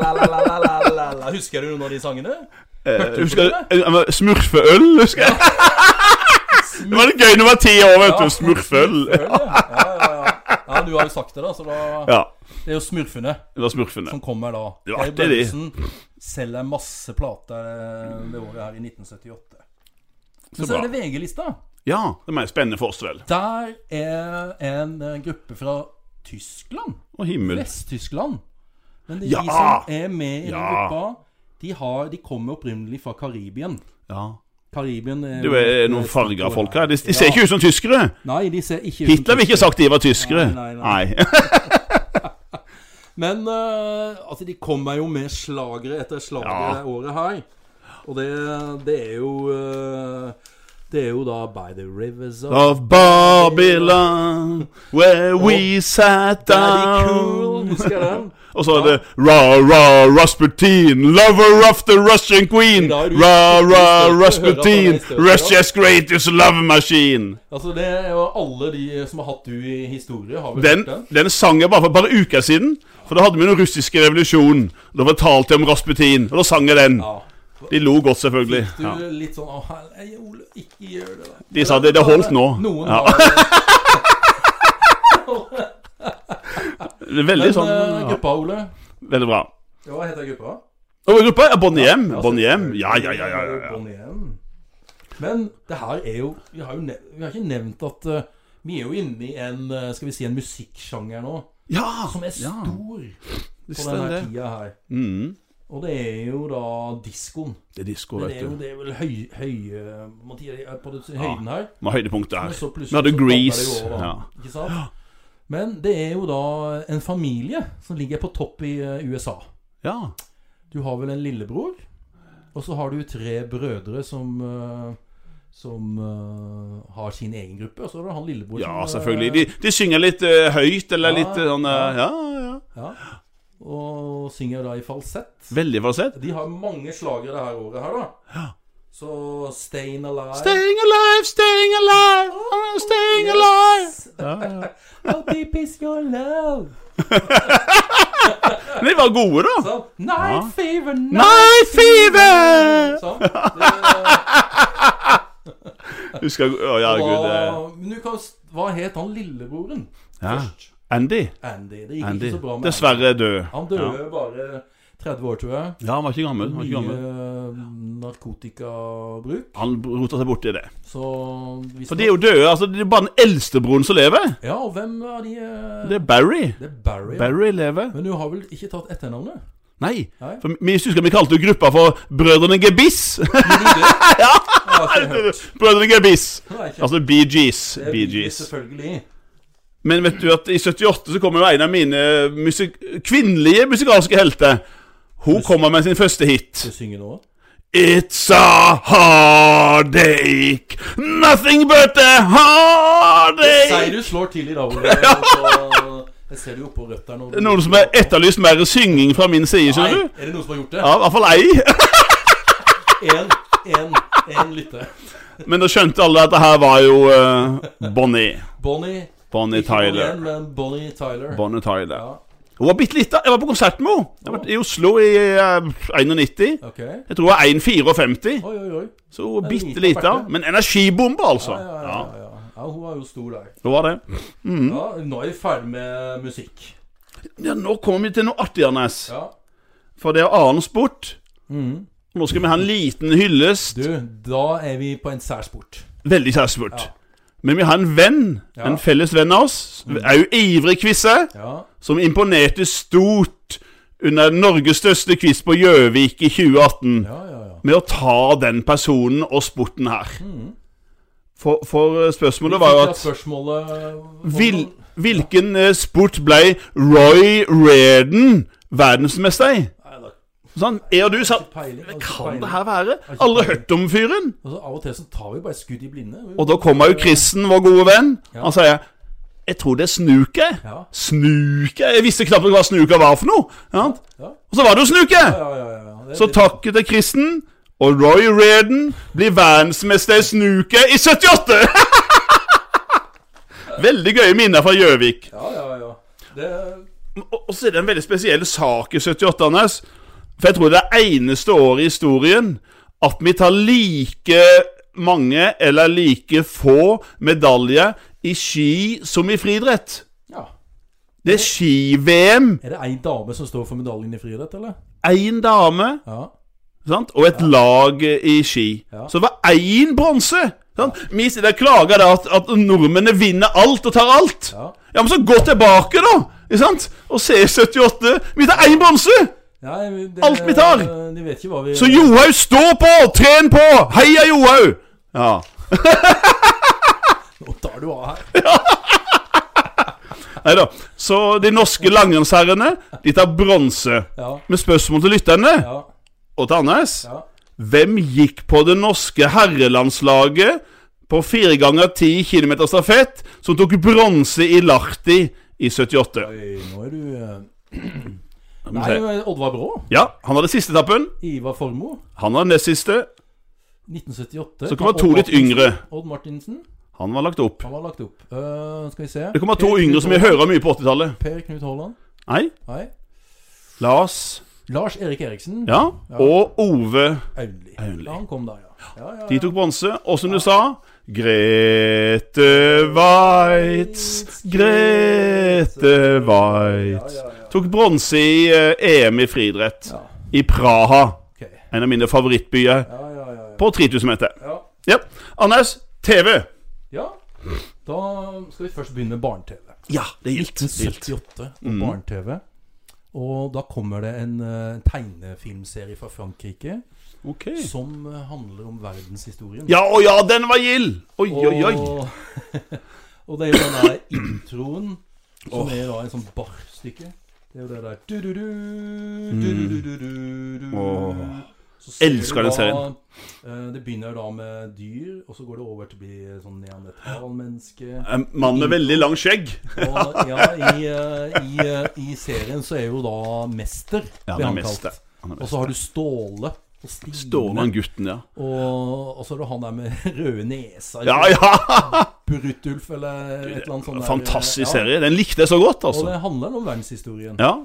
La-la-la-la-la-la-la-la Husker du noen av de sangene? Eh, Husker jeg eh, Smurfeøl, husker jeg. Det var litt gøy når du var ti år, vet du. Smurfeøl. Smurføl, ja. Ja, ja, ja. ja, du har jo sagt det, da. Så da Ja. Det er jo smurfene Det var smurfene. som kommer da. Det var Geir artig, de. Børresen selger masse plater det året her i 1978. Men så bra. er det VG-lista. Ja. Det er mer spennende for oss, vel. Der er en eh, gruppe fra Tyskland. Å, himmel. Vest-Tyskland. Men de, Ja! de som er med i den Ja. gruppa, de, har, de kommer opprinnelig fra Karibien. Ja. Karibien er, Det er jo noen farga folk her. De, de ser ikke ut som tyskere. Nei, de ser ikke ut som Hitler ville ikke sagt de var tyskere. Nei, nei, Nei. sånn. Men eh, altså, de kommer jo med slagere etter slagere Ja. det året her. Og det, det er jo eh, Det er jo da By the Rivers of Of Babylon, where we sat Daddy down Cool, husker jeg den? Og så er det Ra, ra, Rasputin, lover of the Russian queen. Da er du Ra, skikkelig stolt av å høre at han ra, er Rasputin, stolt, ja. Russia's greatest love machine. Altså, det er jo alle de som har hatt du i historie, har vel Den, hørt den? den sang jeg bare for et par uker siden. For da hadde vi den russiske revolusjonen. Da fortalte jeg om Rasputin, og da sang jeg den. Ja. De lo godt, selvfølgelig. Du Ja. litt sånn Å, hei, Ole, ikke gjør det. da». De sa det, det holdt nå. Noen Ja. har det. Det er Veldig Men sånn eh, ja. gruppa, Ole Veldig bra. Ja, Hva heter gruppa? Og gruppa er Bonhjem. Ja, Bonhjem. selvfølgelig. Ja, ja, ja. ja, ja, ja. Bonnie M. Men det her er jo Vi har jo nev vi har ikke nevnt at eh, vi er jo inne i en eh, skal vi si, en musikksjanger nå ja som er ja, stor på visst er denne det. tida her. Mm. Og det er jo da diskoen. Det er disko, Men det vet er jo du. det er vel høy, eh, høye Mathias, er på den høyden her. Med høydepunktet her. Men så Vi plutselig hadde så Grease. falt det jo over, da. Ja. Ikke sant? Men det er jo da en familie som ligger på topp i eh, USA. ja. Du har vel en lillebror, og så har du tre brødre som eh, som eh, har sin egen gruppe. Og så er det han lillebror Ja, som, eh, selvfølgelig. De, de synger litt eh, høyt, eller Ja, litt eh, sånn eh, Ja, ja. ja, og synger da i falsett. Veldig falsett. De har mange slagere det her året her, da. Så Stayin' Alive Staying alive, staying alive, I'm staying alive. Yes. How deep is your love? Men de var gode, da. Så, night fever, night, Night fever! Sånn. Eh, Det, Husker jeg Å, ja, gud. eh, var, men du kan, s- hva het han lillebroren Ja. først? Andy. Andy. Det gikk Andy. ikke så bra med Andy. Dessverre død. Han døde bare 30 år, tror jeg. Ja, han var ikke gammel. Han, var Mye eh, ikke gammel. narkotikabruk. han rota seg borti det. Så hvis For de er jo døde. altså Det er bare den eldste broren som lever. Ja, og hvem er de eh, Det er Barry. Det er Barry. ja. Barry lever. Men du har vel ikke tatt etternavnet? Nei. Nei? For vi husker vi kalte jo gruppa for Brødrene Gebiss. Jeg har ikke hørt. Brødrene Gebiss. Nei, ikke. Altså Bee Gees. Det er Bee Bee Gees, Gees. Selvfølgelig. Men vet du at i 78 så kommer jo en av mine musik kvinnelige musikalske helter. Hun kommer med sin første hit. Du synger nå? It's a heartache. Nothing but a heartache. Sier du slår til i dag, Ole. altså, Jeg ser det jo på røttene. og- Det er Noen som har etterlyst mer synging fra min side, Nei, skjønner du? er det noen som har gjort det? Ja, i hvert fall ei. En, en, en lytter. Men da skjønte alle at det her var jo eh, Bonnie. Bonnie Bonnie ikke Bonnie Tyler. N, men Bonnie Tyler. Bonnie Tyler. Ja, Hun var bitte lita. Jeg var på konsert med henne. Jeg var I Oslo i eh, 91. ok. Jeg tror hun var 1,54. Oi, oi, oi. Så hun var Det er bitte lite lita. verdt Men energibombe, altså. Ja, ja, ja, Ja, Mm. ja, ja. ja, hun var jo stor der. det var det. Ja, nå er vi ferdig med musikk. Ja, nå kommer vi til noe artigere, Nes. Ja. For det er annen sport. Mhm. Nå skal vi ha en liten hyllest. Du, da er vi på en særsport. Veldig særspurt. Ja. Men vi har en venn, Ja. Mm. en felles venn av oss, er jo ivrig quizer, Ja. som imponerte stort under Norges største quiz på Gjøvik i 2018. Ja, ja, ja. Med å ta den personen og sporten her. Mhm. For, for eh, Vi spørsmålet var jo fikk da at spørsmålet hvordan- vil, Hvilken eh, sport ble Roy Reardon verdensmester i? Nei, da, Sånn, jeg og du sa ikke peiling, altså, ikke Kan peiling. det her være? Alle hørt om fyren? Altså, av og til så tar vi bare skudd i blinde. Og da kommer jo Kristen, vår gode venn. Han sier Jeg tror det er snuke. Ja. Snuke? Jeg visste knapt nok hva snuke var for noe. Ja. Ja. Og så var det jo snuke! Ja, ja, ja, ja. Det, Så takk til Kristen. Og Roy Reardon blir verdensmester i snuke i 78! Veldig gøye minner fra Gjøvik. Ja, ja, ja. Det, Og og så er det en veldig spesiell sak i 78, Anders. For jeg tror det er eneste året i historien at vi tar like mange eller like få medaljer i ski som i friidrett. ja. Det er ski-VM. Er det ei dame som står for medaljen i friidrett, eller? Én dame Ja. sant? og et lag eh, i ski. Ja. Så det var én bronse. Sant? Vi sitter og klager da at, at nordmennene vinner alt og tar alt. Ja, Ja, Men så gå tilbake, da! Ikke sant? Og se 78. Vi tar én bronse! Nei, men det, Alt vi tar! De vet ikke hva vi Så Johaug, stå på! Tren på! Heia Johaug! Ja. Nå tar du av her. Nei da. Så de norske langrennsherrene, de tar bronse. Ja, Med spørsmål til lytterne ja, og til Anders. ja. Hvem gikk på det norske herrelandslaget på 4 ganger 10 km stafett som tok bronse i Lahti i 78? Oi, nå er du eh, Skal vi Nei, se. men Oddvar Brå. Ja, han hadde siste etappen. Ivar Formoe. Han var nest siste. 1978. Så kommer Odd to litt Martinsen. yngre. Odd Martinsen. Han var lagt opp. Han var lagt opp. Eh, skal vi se Det kommer to Per Knut yngre som vi Haaland. hører mye på 80-tallet. Per Knut Haaland. Nei, Nei. Lars Lars Erik Eriksen. Ja, og Ove Auli. Auli. Ja, han kom der, ja. ja, ja. De tok bronse, og som du sa Grete Waitz, Grete Waitz Tok bronse i eh, EM i friidrett Ja. i Praha. Ok. En av mine favorittbyer Ja, ja, ja, ja. på 3000 meter. ja. Ja. Anders, TV. ja. Da skal vi først begynne med barne-TV. Ja, det er gildt. Det er gildt. 1978 og Mm. barne-TV. Og da kommer det en eh, tegnefilmserie fra Frankrike Ok. som eh, handler om verdenshistorien. Mm. Ja, å ja, den var gild! Oi, oi, oi. Og, og det er jo den der introen som er da en sånn Bach-stykke. Det er jo det der du-du-du, du-du-du-du-du-du. Mm. Åh. Så ser du Elsker den da, serien. eh, Det begynner da med dyr, og så går det over til å bli sånn neandertalmenneske. En mann med veldig langt skjegg. Og ja, i, eh, i, eh, i serien så er jo da Mester Ja, han blir er han mester. kalt. Han er Og så har du Ståle og Stine. Ståle, han gutten, ja. Og, og så er det han der med røde nesa. Ja, ja! Brutulf eller et eller annet sånt. der. Fantastisk Ja, serie. Den likte jeg så godt, Og altså. det handler om verdenshistorien. Ja.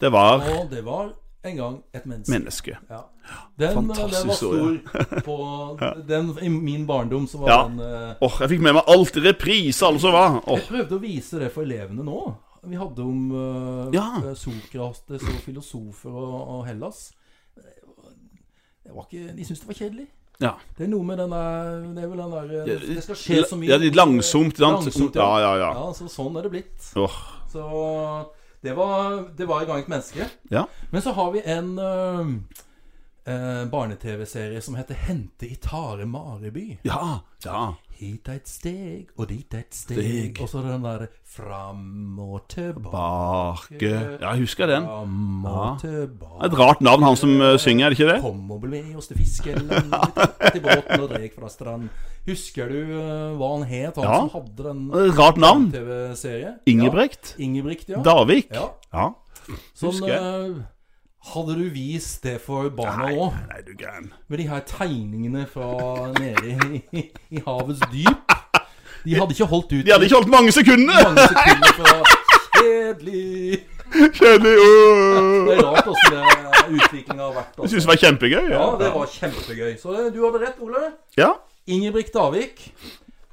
Det var Og det var en gang et menneske. menneske. Ja. Den, Fantastisk den var stor historie. på den, I min barndom så var Ja. den eh, Åh, Jeg fikk med meg alt. Reprise, alle som var. Åh, Jeg prøvde å vise det for elevene nå. Vi hadde om eh, Ja. eh, Sokrates og filosofer og, og Hellas. Det var ikke, de syntes det var kjedelig. Ja. Det er noe med den der Det er vel den der eh, Det skal skje så mye. Ja, litt langsomt, sant? Langsomt, ja, ja, ja. Ja, så sånn er det blitt. Åh, Så det var, det var i gang et menneske. Ja. Men så har vi en eh, eh, barne-TV-serie som heter 'Hente i Tare Mareby'. ja, ja. Hit er et steg, og dit er et steg. Steg. Og så den der 'Fram og tilbake'. Bake Ja, jeg husker den. Fram og Det er tilbake. Et rart navn, han som eh, synger, er det ikke det? Kom og bli med oss til fiskelen. Til båten og drek fra strand. Husker du eh, hva han het, han Ja. som hadde den Et rart navn. TV-serien? Ingebrigt. Ja. Ingebrigt, ja. Davik. ja. Ja. Sånn, Husker eh, hadde du vist det for barna Nei, òg, nei, du gæren. med de her tegningene fra nede i, i havets dyp De hadde ikke holdt ut De hadde ikke holdt mange sekundene! mange sekunder fra Kjedelig Kjedelig. Det åh. er rart åssen utviklinga har vært. Jeg Altså. synes det var kjempegøy. Ja, det var kjempegøy. Så eh, du hadde rett, Ole. Ja. Ingebrigt Davik.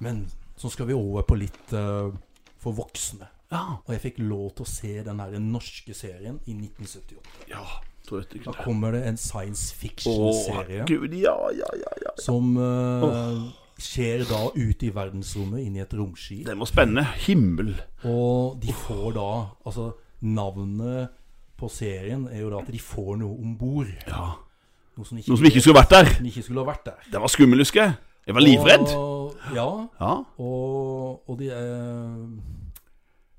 Men så skal vi over på litt eh, for voksne. Ja. Og jeg fikk lov til å se den her norske serien i 1978. ja. Tror jeg Da ikke kommer det en science Åh, fiction-serie gud, ja, ja, ja, ja. som eh, skjer da ute i verdensrommet, inni et romskip. Den var spennende. Himmel. Og de får da Altså, navnet på serien er jo da at de får noe om bord. Ja. Noe som ikke, Noen som ikke skulle vært der. som ikke skulle ha vært der. Den var skummel, husker jeg. Jeg var livredd. Og, ja, Ja. og, og de er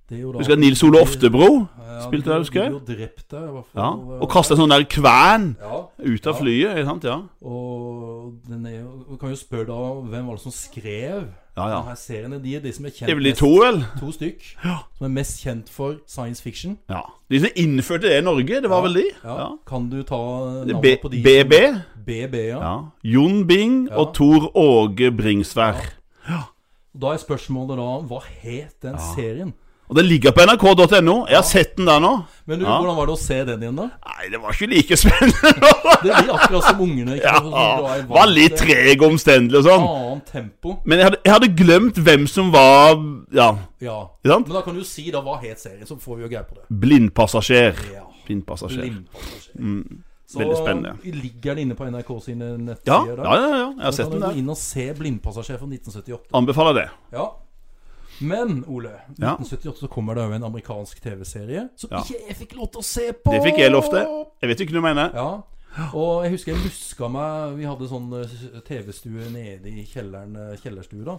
Det er jo da Husker jeg Nils Ole Oftebro Ja, spilte de- der, husker jeg. De ble jo drept der, i hvert Ja. fall. eh, Og kasta en sånn der kvern Ja, ut av flyet. ikke sant? Ja. og den er jo Vi kan jo spørre da hvem var det som skrev Ja, ja. denne serien? De er de som er kjent Det er vel de to, vel? mest- to stykk. Ja. Som er mest kjent for science fiction. Ja. De som innførte det i Norge, det var vel de? Ja. Ja. Kan du ta Det er navnet på de? B- BB. BB, ja. Ja. Jon Bing og Ja. Tor Åge Bringsvær. Da er spørsmålet da hva het den serien? Og den ligger på nrk.no. Jeg har sett den der nå. Men du, Ja. hvordan var det å se den igjen, da? Nei, det var ikke like spennende. Det blir akkurat som ungene. Ikke? ja, Sånn som du er vant var litt til. treg og omstendelig og sånn. annet tempo. Men jeg hadde, jeg hadde glemt hvem som var Ja, Ja. ikke sant? Men da kan du si da hva het serien, så får vi jo greie på det. Blindpassasjer. Ja. Blindpassasjer. Limpa-passasjer. Så Mm. Veldig spennende. ligger den inne på NRK sine Ja, nettsider? ja, ja, ja. Jeg Da har sett kan du den gå der. inn og se 'Blindpassasjer' fra 1978. Anbefaler det. Ja. Men, Ole, Ja. 1978 så kommer det jo en amerikansk TV-serie som Ja. ikke jeg fikk lov til å se på! Det fikk jeg lov til. Jeg vet ikke hva du mener. Ja. Og jeg husker jeg luska meg Vi hadde sånn eh, TV-stue nede i kjelleren, eh, kjellerstue, da.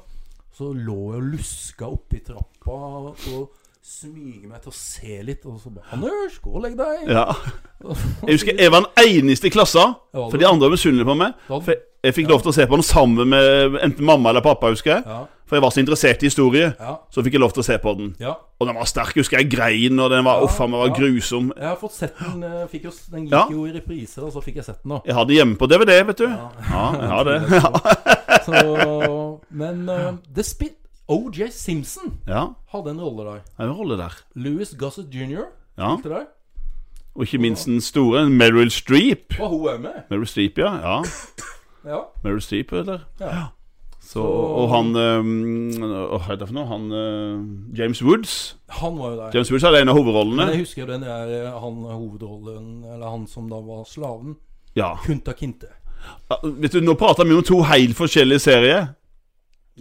Så lå jeg og luska oppi trappa og smyger meg til å se litt. Og så bare 'Anders, gå og legg deg'. Ja. Jeg husker jeg var den eneste i klassa, for de andre var misunnelige på meg. Da- For jeg- jeg fikk lov til å se på den sammen med enten mamma eller pappa, husker jeg. Ja. For jeg var så interessert i historie. Ja. Så fikk jeg lov til å se på den. ja. Og den var sterk, husker jeg. Grein, og den var Ja, uff, den var ja. grusom. Jeg har fått sett den. eh, Fikk jo, s- den gikk Ja. jo i repriser, og så fikk jeg sett den, da. Jeg har den hjemme på DVD, vet du. Ja, jeg har det. Så, men eh, det spil... OJ Simpson Ja, hadde en rolle der. det er en rolle der. Louis Gossett jr. Ja. spilte der. Og ikke minst den store Meryl Streep. Var hun òg med? Meryl Streep, ja. ja. Ja. Meryl Streep, eller? ja. Så, og han ehm, Åh, Hva er det for noe? Han eh, James Woods. Han var jo der. James Woods hadde en av Men hovedrollene. jeg husker jo den der eh, han hovedrollen, eller han som da var slaven. Ja. Kunta Kinte. Ah, Vet du, Nå prater vi om to helt forskjellige serier.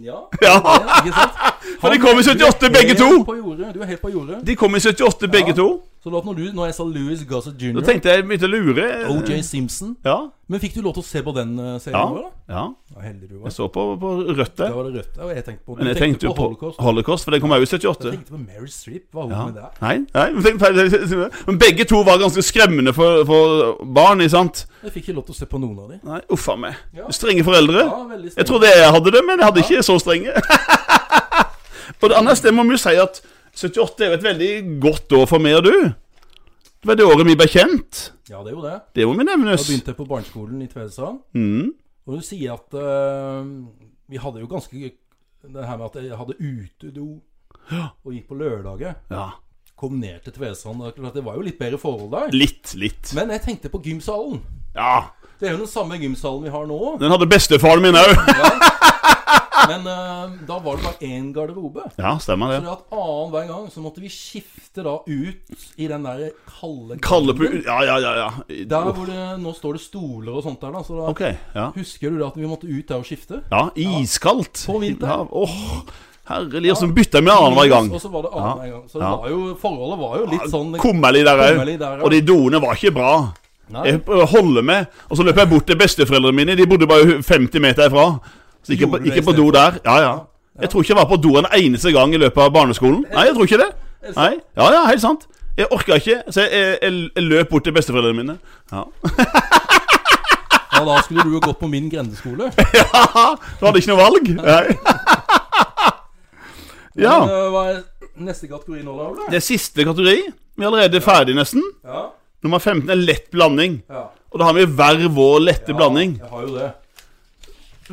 Ja, Ja. det, ikke sant? For de kom i 78, begge Du er helt to! på jordet. Du er helt på jordet. De kom i 78, begge to. Så da når, du, når jeg sa Louis Gossett Da jr., tenkte jeg begynte å lure. OJ Simpson Ja. Men fikk du lov til å se på den eh, serien Ja. vår, da? ja. Ja, heldig du Jeg var. så på, på rødt Da der. var det rødt. Ja, jeg tenkte på, du Men jeg tenkte jo på Holocaust. Holocaust, for det kom òg i 78. Jeg tenkte på Mary Strip. Hva var hun Ja. med der? Nei, nei men tenk- feil- feil- feil- Men begge to var ganske skremmende for, for barn, ikke sant? Jeg fikk ikke lov til å se på noen av de. Nei, uffa meg. Ja. Strenge foreldre. Ja, veldig Jeg streng. trodde jeg hadde det, men jeg hadde ikke så strenge. og det andre stedet må vi jo si at 78 er jo et veldig godt år for meg og du. Det var det året vi ble kjent. Ja, det er jo det. Det må vi Da nevnes. begynte jeg på barneskolen i Tvedestrand. Mm. Og hun sier at eh, vi hadde jo ganske Det her med at jeg hadde utedo og gikk på lørdager. Ja. Kom ned til Tvedestrand. og det er klart Det var jo litt bedre forhold der. Litt, litt. Men jeg tenkte på gymsalen. Ja. Det er jo den samme gymsalen vi har nå. Den hadde bestefaren min òg. Men eh, da var det bare én garderobe. Ja, stemmer Så det. det at annenhver gang så måtte vi skifte da ut i den der kalde Kalle på gangen. Ja, ja, ja. ja. Der hvor det nå står det stoler og sånt der, da. Så da Ok. Ja. husker du da at vi måtte ut der og skifte? Ja, iskaldt. På vinteren. Ja, åh, herlig. Og så bytta vi annenhver gang. Og så var det annenhver gang. Så det Ja. Ah, var jo, forholdet var jo litt sånn Kummerlig der Kummerlig der, òg. ja. Og de doene var ikke bra. Nei. Jeg prøver å holde med, og så løp jeg bort til besteforeldrene mine. De bodde bare 50 meter ifra. Så gikk jeg på, Gjorde du det gikk jeg på do der. Ja, ja. Jeg tror ikke jeg var på do en eneste gang i løpet av barneskolen. Nei, jeg tror ikke det. Nei. Ja, ja, helt sant. Jeg orka ikke, så jeg, jeg, jeg, jeg løp bort til besteforeldrene mine. Ja. Ja, da skulle du jo gått på min grendeskole. Du hadde ikke noe valg. Nei. Ja. Men, eh, hva er neste kategori nå, da? Ole? Det er siste kategori. Vi er allerede ferdig, nesten. Ja. Nummer 15 er lett blanding. ja. Og da har vi hver vår lette blanding. Jeg har jo det.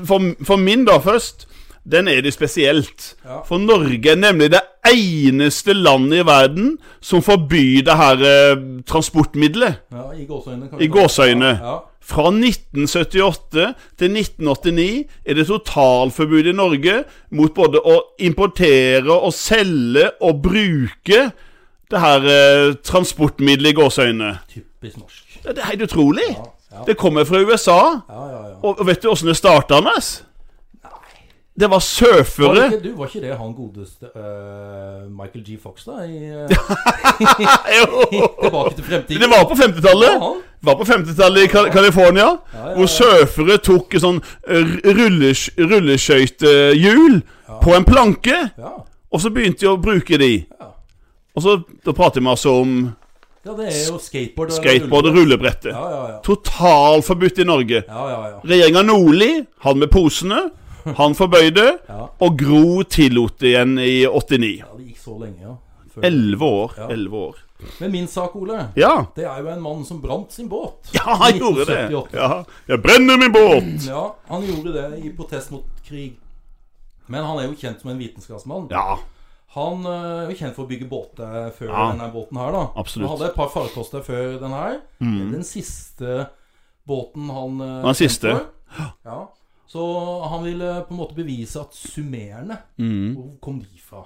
For, for min, da, først. Den er det spesielt. Ja. For Norge er nemlig det eneste landet i verden som forbyr det her eh, transportmiddelet. Ja, I gåseøynene. kan vi ta I det. gåseøyne. Ja. Fra 1978 til 1989 er det totalforbud i Norge mot både å importere og selge og bruke det her eh, transportmiddelet i gåseøyne. Typisk norsk. Det er helt utrolig. Ja, ja, Det kommer fra USA. ja. ja, ja. Og og vet du åssen det starta, Anders? Det var Var det surfere. ikke, du, var ikke det han godeste øh, Michael G. Fox, da? I, øh, Jo. tilbake til fremtiden? Det var på 50-tallet. Ja, han. Var på 50-tallet i Cal- California. ja, Hvor surfere tok et sånn eh, rulles- rulleskøytehjul på en planke. Ja. Og så begynte de å bruke de. Ja. Og så da prater vi altså om ja, det er jo skateboard. eller skateboard og rulle- rullebrettet. Ja, ja, ja. Totalforbudt i Norge. ja, ja, ja. Regjeringa Nordli, han med posene, han forbøyde. Ja. Og Gro tillot det igjen i 89. ja, det gikk så lenge, ja. Før- Elleve år. Ja. Elleve år. Men min sak, Ole, Ja. det er jo en mann som brant sin båt. ja, han I gjorde det. 1978. Ja. Jeg brenner min båt! Ja, han gjorde det i protest mot krig. Men han er jo kjent som en vitenskapsmann. Ja. Han øh, er jo kjent for å bygge båter eh, før Ja. denne båten her, da. Absolutt. Mm. Han hadde et par farkoster før den her. Den siste båten han øh, Den siste. kjent for. Ja. Så han ville på en måte bevise at sumerene Mm. Hvor kom de fra?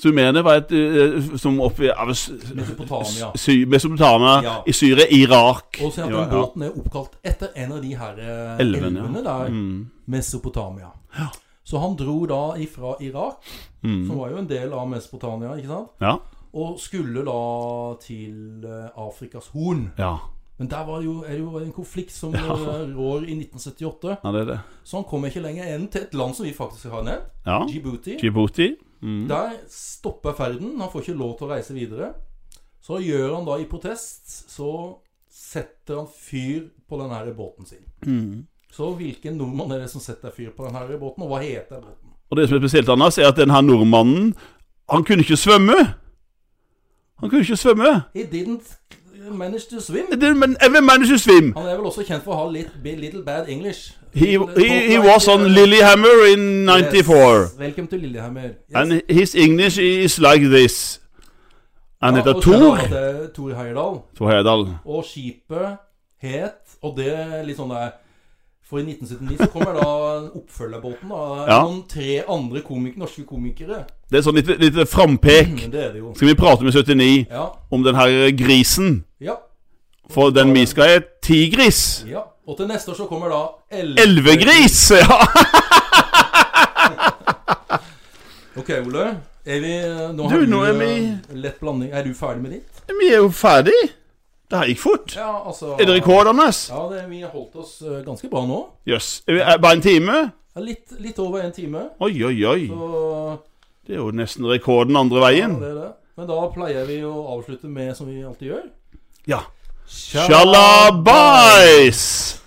Sumerene var et eh, som oppi ja, men s- Mesopotamia. sy, Mesopotamia Ja. i Syria, Irak Og se at Ja, den ja. båten er oppkalt etter en av de her eh, Elven, ja. Mm. elvene der. Mesopotamia. Så han dro da ifra Irak, som var jo en del av Mesopotamia, ikke sant? Ja. Og skulle da til eh, Afrikas Horn. ja. Men der var det jo, er det jo en konflikt som eh, rår i 1978. Ja, det er det. Så han kom ikke lenger enn til et land som vi faktisk har nevnt, Ja. Mm. Djibouti. Djibouti. Der stopper ferden. Han får ikke lov til å reise videre. Så gjør han da i protest Så setter han fyr på den her båten sin. Mm. Så hvilken nordmann er det som setter fyr på den her båten, og hva heter båten? Og det som er spesielt, Anders, er at den her nordmannen, han kunne ikke svømme. Han kunne ikke svømme. He didn't manage to swim. Det- Men every man is a swim. Han er vel også kjent for å ha litt, be- little bad English. He, he, he was on Lillehammer in 94. Yes. Velkommen til Lillehammer. Yes. And his English is like this. Han Ja, heter og Thor. skjønner at det er Thor Heyerdahl. Thor Heyerdahl. Og skipet het Og det er litt sånn der For i 1979 så kommer da oppfølgerbåten. da Ja. Noen tre andre komik norske komikere. Det er sånn litt, litt frampek. Men det er det jo. Skal vi prate med 79 Ja. om den her grisen? Ja. For den vi skal er tigris. ja. Og til neste år så kommer da elve- Elvegris! Ja. Nå Ok, Ole. Er vi, nå Du, har du, nå er eh, lett blanding. Er du ferdig med ditt? Vi er jo ferdig. Det her gikk fort. Ja, altså Er det rekord, Anders? Ja, det, vi har holdt oss eh, ganske bra nå. Jøss. Er vi- er Bare en time? Ja, litt, litt over en time. Oi, oi, oi. Så Det er jo nesten rekorden andre ja, veien. det er det. Men da pleier vi å avslutte med, som vi alltid gjør Ja. Sjalabais!